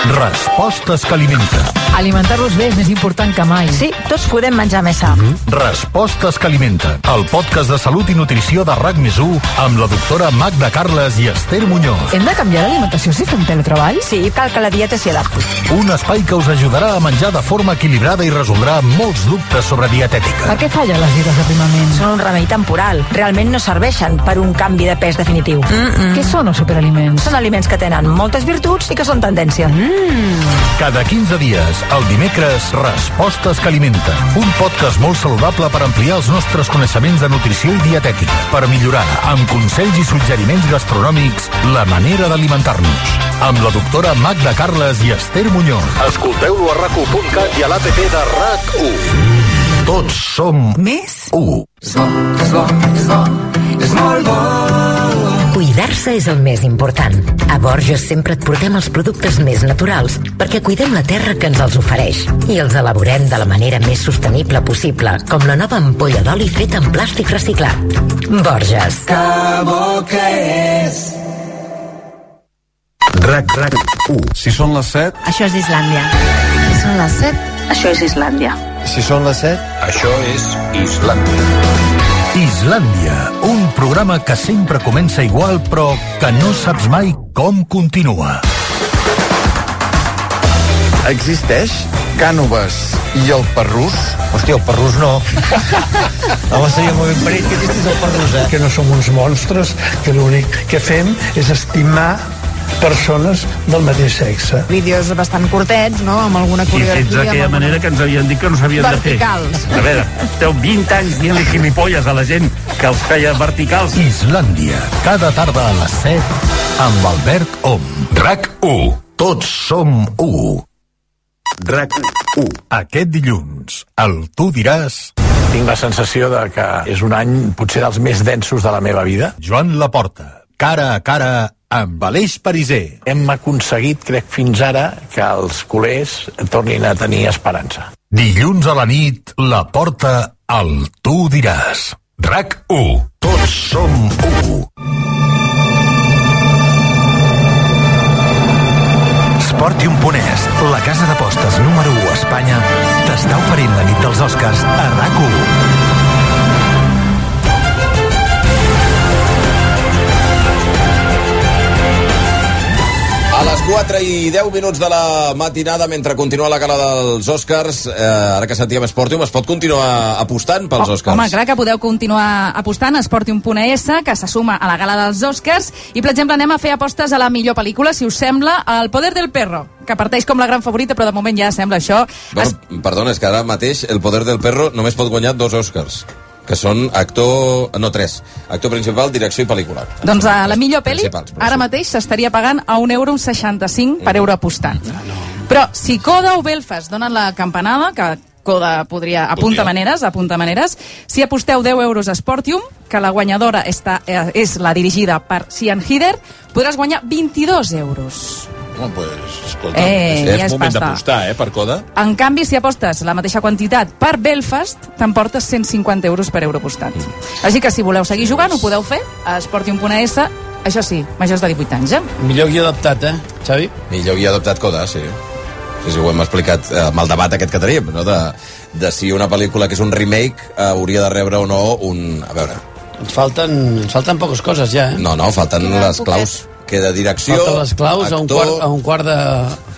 Speaker 14: Respostes que alimenta.
Speaker 4: Alimentar-los bé és més important que mai. Mm-hmm. Sí, tots podem menjar més sa.
Speaker 14: Respostes que alimenta, el podcast de salut i nutrició de RAC més 1 amb la doctora Magda Carles i Esther Muñoz.
Speaker 4: Hem de canviar l'alimentació si fem teletreball?
Speaker 12: Sí, cal que la dieta s'hi adapti.
Speaker 14: Un espai que us ajudarà a menjar de forma equilibrada i resoldrà molts dubtes sobre dietètica.
Speaker 4: Per què fallen les dietes d'aprimament?
Speaker 12: Són un remei temporal. Realment no serveixen per un canvi de pes definitiu. Mm -mm.
Speaker 4: Què són els superaliments?
Speaker 12: Són aliments que tenen moltes virtuts i que són tendència. Mm.
Speaker 14: Cada 15 dies, el dimecres, Respostes que alimenten. Un podcast molt saludable per ampliar els nostres coneixements de nutrició i dietètica, per millorar, amb consells i suggeriments gastronòmics, la manera d'alimentar-nos. Amb la doctora Magda Carles i Esther Muñoz. Escolteu-lo a rac1.cat i a l'APP de RAC1. Tots som més 1.
Speaker 12: És bo, és bo, és bo,
Speaker 9: és molt bo.
Speaker 11: Cuidar-se és el més important. A Borges sempre et portem els productes més naturals perquè cuidem la terra que ens els ofereix i els elaborem de la manera més sostenible possible, com la nova ampolla d'oli feta amb plàstic reciclat. Borges.
Speaker 12: Que bo que és.
Speaker 14: RAC, RAC, 1. Si són les 7...
Speaker 20: Això és Islàndia. Si són les 7, això és Islàndia.
Speaker 14: Si són les 7...
Speaker 18: Això és Islàndia.
Speaker 14: Islàndia, un programa que sempre comença igual però que no saps mai com continua.
Speaker 24: Existeix Cànoves i el Perrús?
Speaker 25: Hòstia, el Perrús no. Home, seria molt ben parit que existís el Perrús, eh?
Speaker 17: Que no som uns monstres, que l'únic que fem és estimar persones del mateix sexe.
Speaker 20: Vídeos bastant curtets, no?, amb alguna
Speaker 26: I
Speaker 20: coreografia.
Speaker 26: fins d'aquella
Speaker 20: amb alguna-
Speaker 26: manera que ens havien dit que no s'havien de fer.
Speaker 20: Verticals.
Speaker 26: A veure, esteu 20 anys dient-li gilipolles a la gent que els feia verticals.
Speaker 14: Islàndia, cada tarda a les 7, amb Albert Om. RAC 1. Tots som 1. RAC 1. Aquest dilluns, el Tu diràs...
Speaker 17: Tinc la sensació de que és un any potser dels més densos de la meva vida.
Speaker 14: Joan Laporta, cara a cara amb Aleix Pariser.
Speaker 17: Hem aconseguit, crec, fins ara, que els culers tornin a tenir esperança.
Speaker 14: Dilluns a la nit, la porta al Tu diràs. RAC 1. Tots som 1.
Speaker 18: Sportium Ponés, la casa d'apostes número 1 a Espanya, t'està oferint la nit dels Oscars a RAC1.
Speaker 3: A les 4 i 10 minuts de la matinada, mentre continua la gala dels Oscars, eh, ara que sentíem Esportium, es pot continuar apostant pels
Speaker 8: Oh,
Speaker 3: Oscars?
Speaker 8: Home, clar que podeu continuar apostant a Esportium.es, que se suma a la gala dels Oscars i, per exemple, anem a fer apostes a la millor pel·lícula, si us sembla, El poder del perro, que parteix com la gran favorita, però de moment ja sembla això.
Speaker 3: Bueno, Perdona, és que ara mateix El poder del perro només pot guanyar dos Oscars que són actor... no, tres. Actor principal, direcció i pel·lícula.
Speaker 8: Doncs a la millor pel·li,
Speaker 3: Principals, però
Speaker 8: ara mateix s'estaria pagant a 1,65 euro per euro apostat. Però si Coda o Belfast donen la campanada, que Coda podria... Apunta maneres, apunta maneres. Si aposteu 10 euros a Sportium, que la guanyadora està, eh, és la dirigida per Sian Hider, podràs guanyar 22 euros.
Speaker 1: Bueno, pues, escolta,
Speaker 8: Eh,
Speaker 1: és,
Speaker 8: ja
Speaker 1: és
Speaker 8: és
Speaker 1: moment
Speaker 8: pasta.
Speaker 1: d'apostar, eh, per coda.
Speaker 8: En canvi, si apostes la mateixa quantitat per Belfast, t'emportes 150 euros per euro apostat. Així que si voleu seguir jugant, ho podeu fer a Sportium.es, això sí, majors de 18 anys, eh?
Speaker 5: Millor guió adaptat, eh, Xavi?
Speaker 3: Millor guia adoptat Coda, sí. Sí, sí, ho hem explicat eh, amb el debat aquest que teníem, no? de, de si una pel·lícula que és un remake eh, hauria de rebre o no un... A veure...
Speaker 5: Ens falten, ens falten poques coses ja, eh?
Speaker 3: No, no, falten les claus. Queda direcció,
Speaker 5: Falten les claus a un
Speaker 3: actor...
Speaker 5: quart, a un quart de...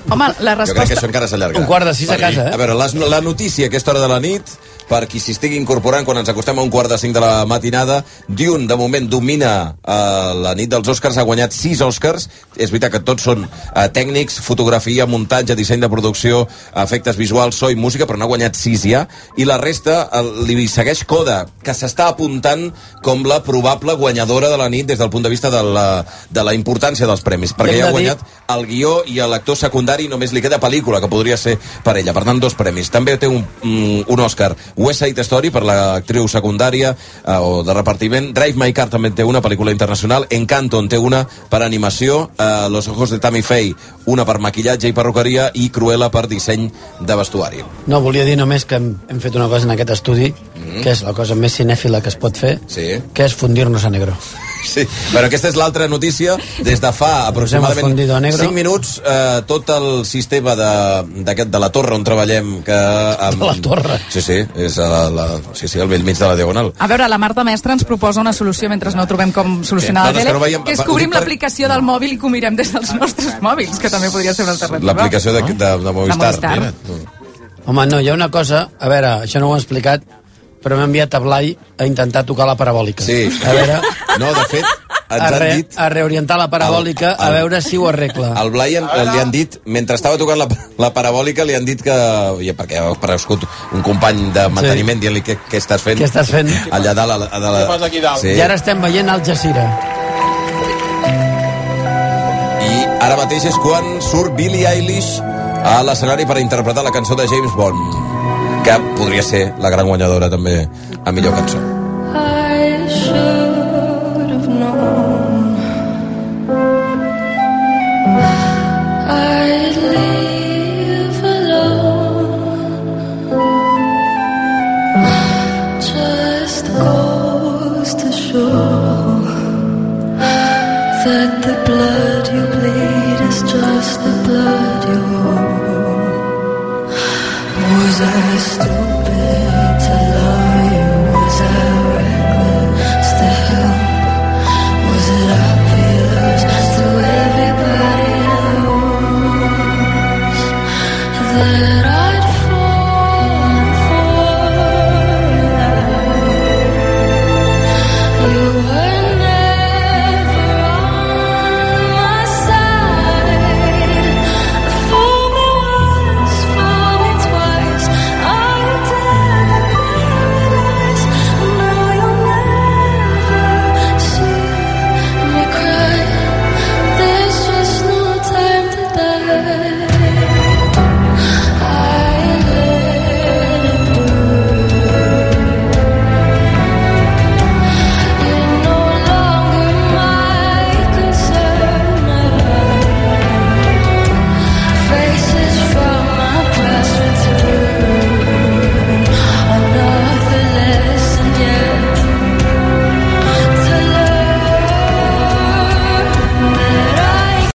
Speaker 8: Home, la
Speaker 3: Jo crec que això encara s'allarga.
Speaker 5: Un quart de sis a
Speaker 3: Perquè,
Speaker 5: casa, eh?
Speaker 3: A veure, les, la notícia a aquesta hora de la nit, per qui s'hi estigui incorporant quan ens acostem a un quart de cinc de la matinada, Dune, de moment, domina eh, la nit dels Oscars, ha guanyat sis Oscars. És veritat que tots són eh, tècnics, fotografia, muntatge, disseny de producció, efectes visuals, so i música, però n'ha guanyat sis ja. I la resta eh, li segueix Coda, que s'està apuntant com la probable guanyadora de la nit des del punt de vista de la, de la importància dels premis, perquè
Speaker 5: hem
Speaker 3: ja
Speaker 5: de
Speaker 3: ha
Speaker 5: dir-
Speaker 3: guanyat el guió i a l'actor secundari només li queda pel·lícula, que podria ser per ella. Per tant, dos premis. També té un, mm, un Òscar West Side Story per l'actriu secundària eh, o de repartiment. Drive My Car també té una pel·lícula internacional. Encanto en té una per animació. Eh, Los Ojos de Tammy Faye, una per maquillatge i perruqueria. I Cruella per disseny de vestuari.
Speaker 5: No, volia dir només que hem, hem fet una cosa en aquest estudi,
Speaker 3: Mm-hmm.
Speaker 5: que és la cosa més cinèfila que es pot fer,
Speaker 3: Sí.
Speaker 5: que és fundir-nos a negro.
Speaker 3: Sí, però aquesta és l'altra notícia. Des de fa
Speaker 5: hemos
Speaker 3: aproximadament
Speaker 5: fundido a negro.
Speaker 3: 5 minuts, eh, tot el sistema de, d'aquest de la torre on treballem... Que, amb... De la torre? Sí, sí, és a la, la, sí, sí, al vell mig de la Diagonal.
Speaker 8: A veure, la Marta Mestre ens proposa una solució mentre no trobem com solucionar la
Speaker 3: Nosaltres que
Speaker 8: tele,
Speaker 3: no veiem-
Speaker 8: que és
Speaker 3: va, ho
Speaker 8: cobrim
Speaker 3: dic per-
Speaker 8: l'aplicació del mòbil i que ho mirem des dels nostres mòbils, que també podria ser una alternativa.
Speaker 3: L'aplicació de, de, de Movistar.
Speaker 8: Movistar.
Speaker 3: Mira.
Speaker 5: Home, no, hi ha una cosa... A veure, això no ho he explicat, però m'ha enviat a Blai a intentar tocar la parabòlica.
Speaker 3: Sí.
Speaker 5: A veure...
Speaker 3: No, de fet, ens
Speaker 5: A,
Speaker 3: han
Speaker 5: re,
Speaker 3: dit...
Speaker 5: a reorientar la
Speaker 3: El-
Speaker 5: parabòlica,
Speaker 3: el-
Speaker 5: a veure si ho arregla.
Speaker 3: Al Blai en, li han dit, mentre estava tocant la, la parabòlica, li han dit que... Ja, perquè ha aparegut un company de manteniment dient-li què, què estàs fent.
Speaker 5: Què estàs fent?
Speaker 3: Allà dalt. A la, a la...
Speaker 5: Què fas
Speaker 3: aquí dalt? Sí.
Speaker 5: I ara estem veient Al Jazeera.
Speaker 3: I ara mateix és quan surt Billie Eilish a l'escenari per interpretar la cançó de James Bond, que podria ser la gran guanyadora també a millor cançó.
Speaker 12: I should blood you bleed is just the blood you owe. Was I stupid?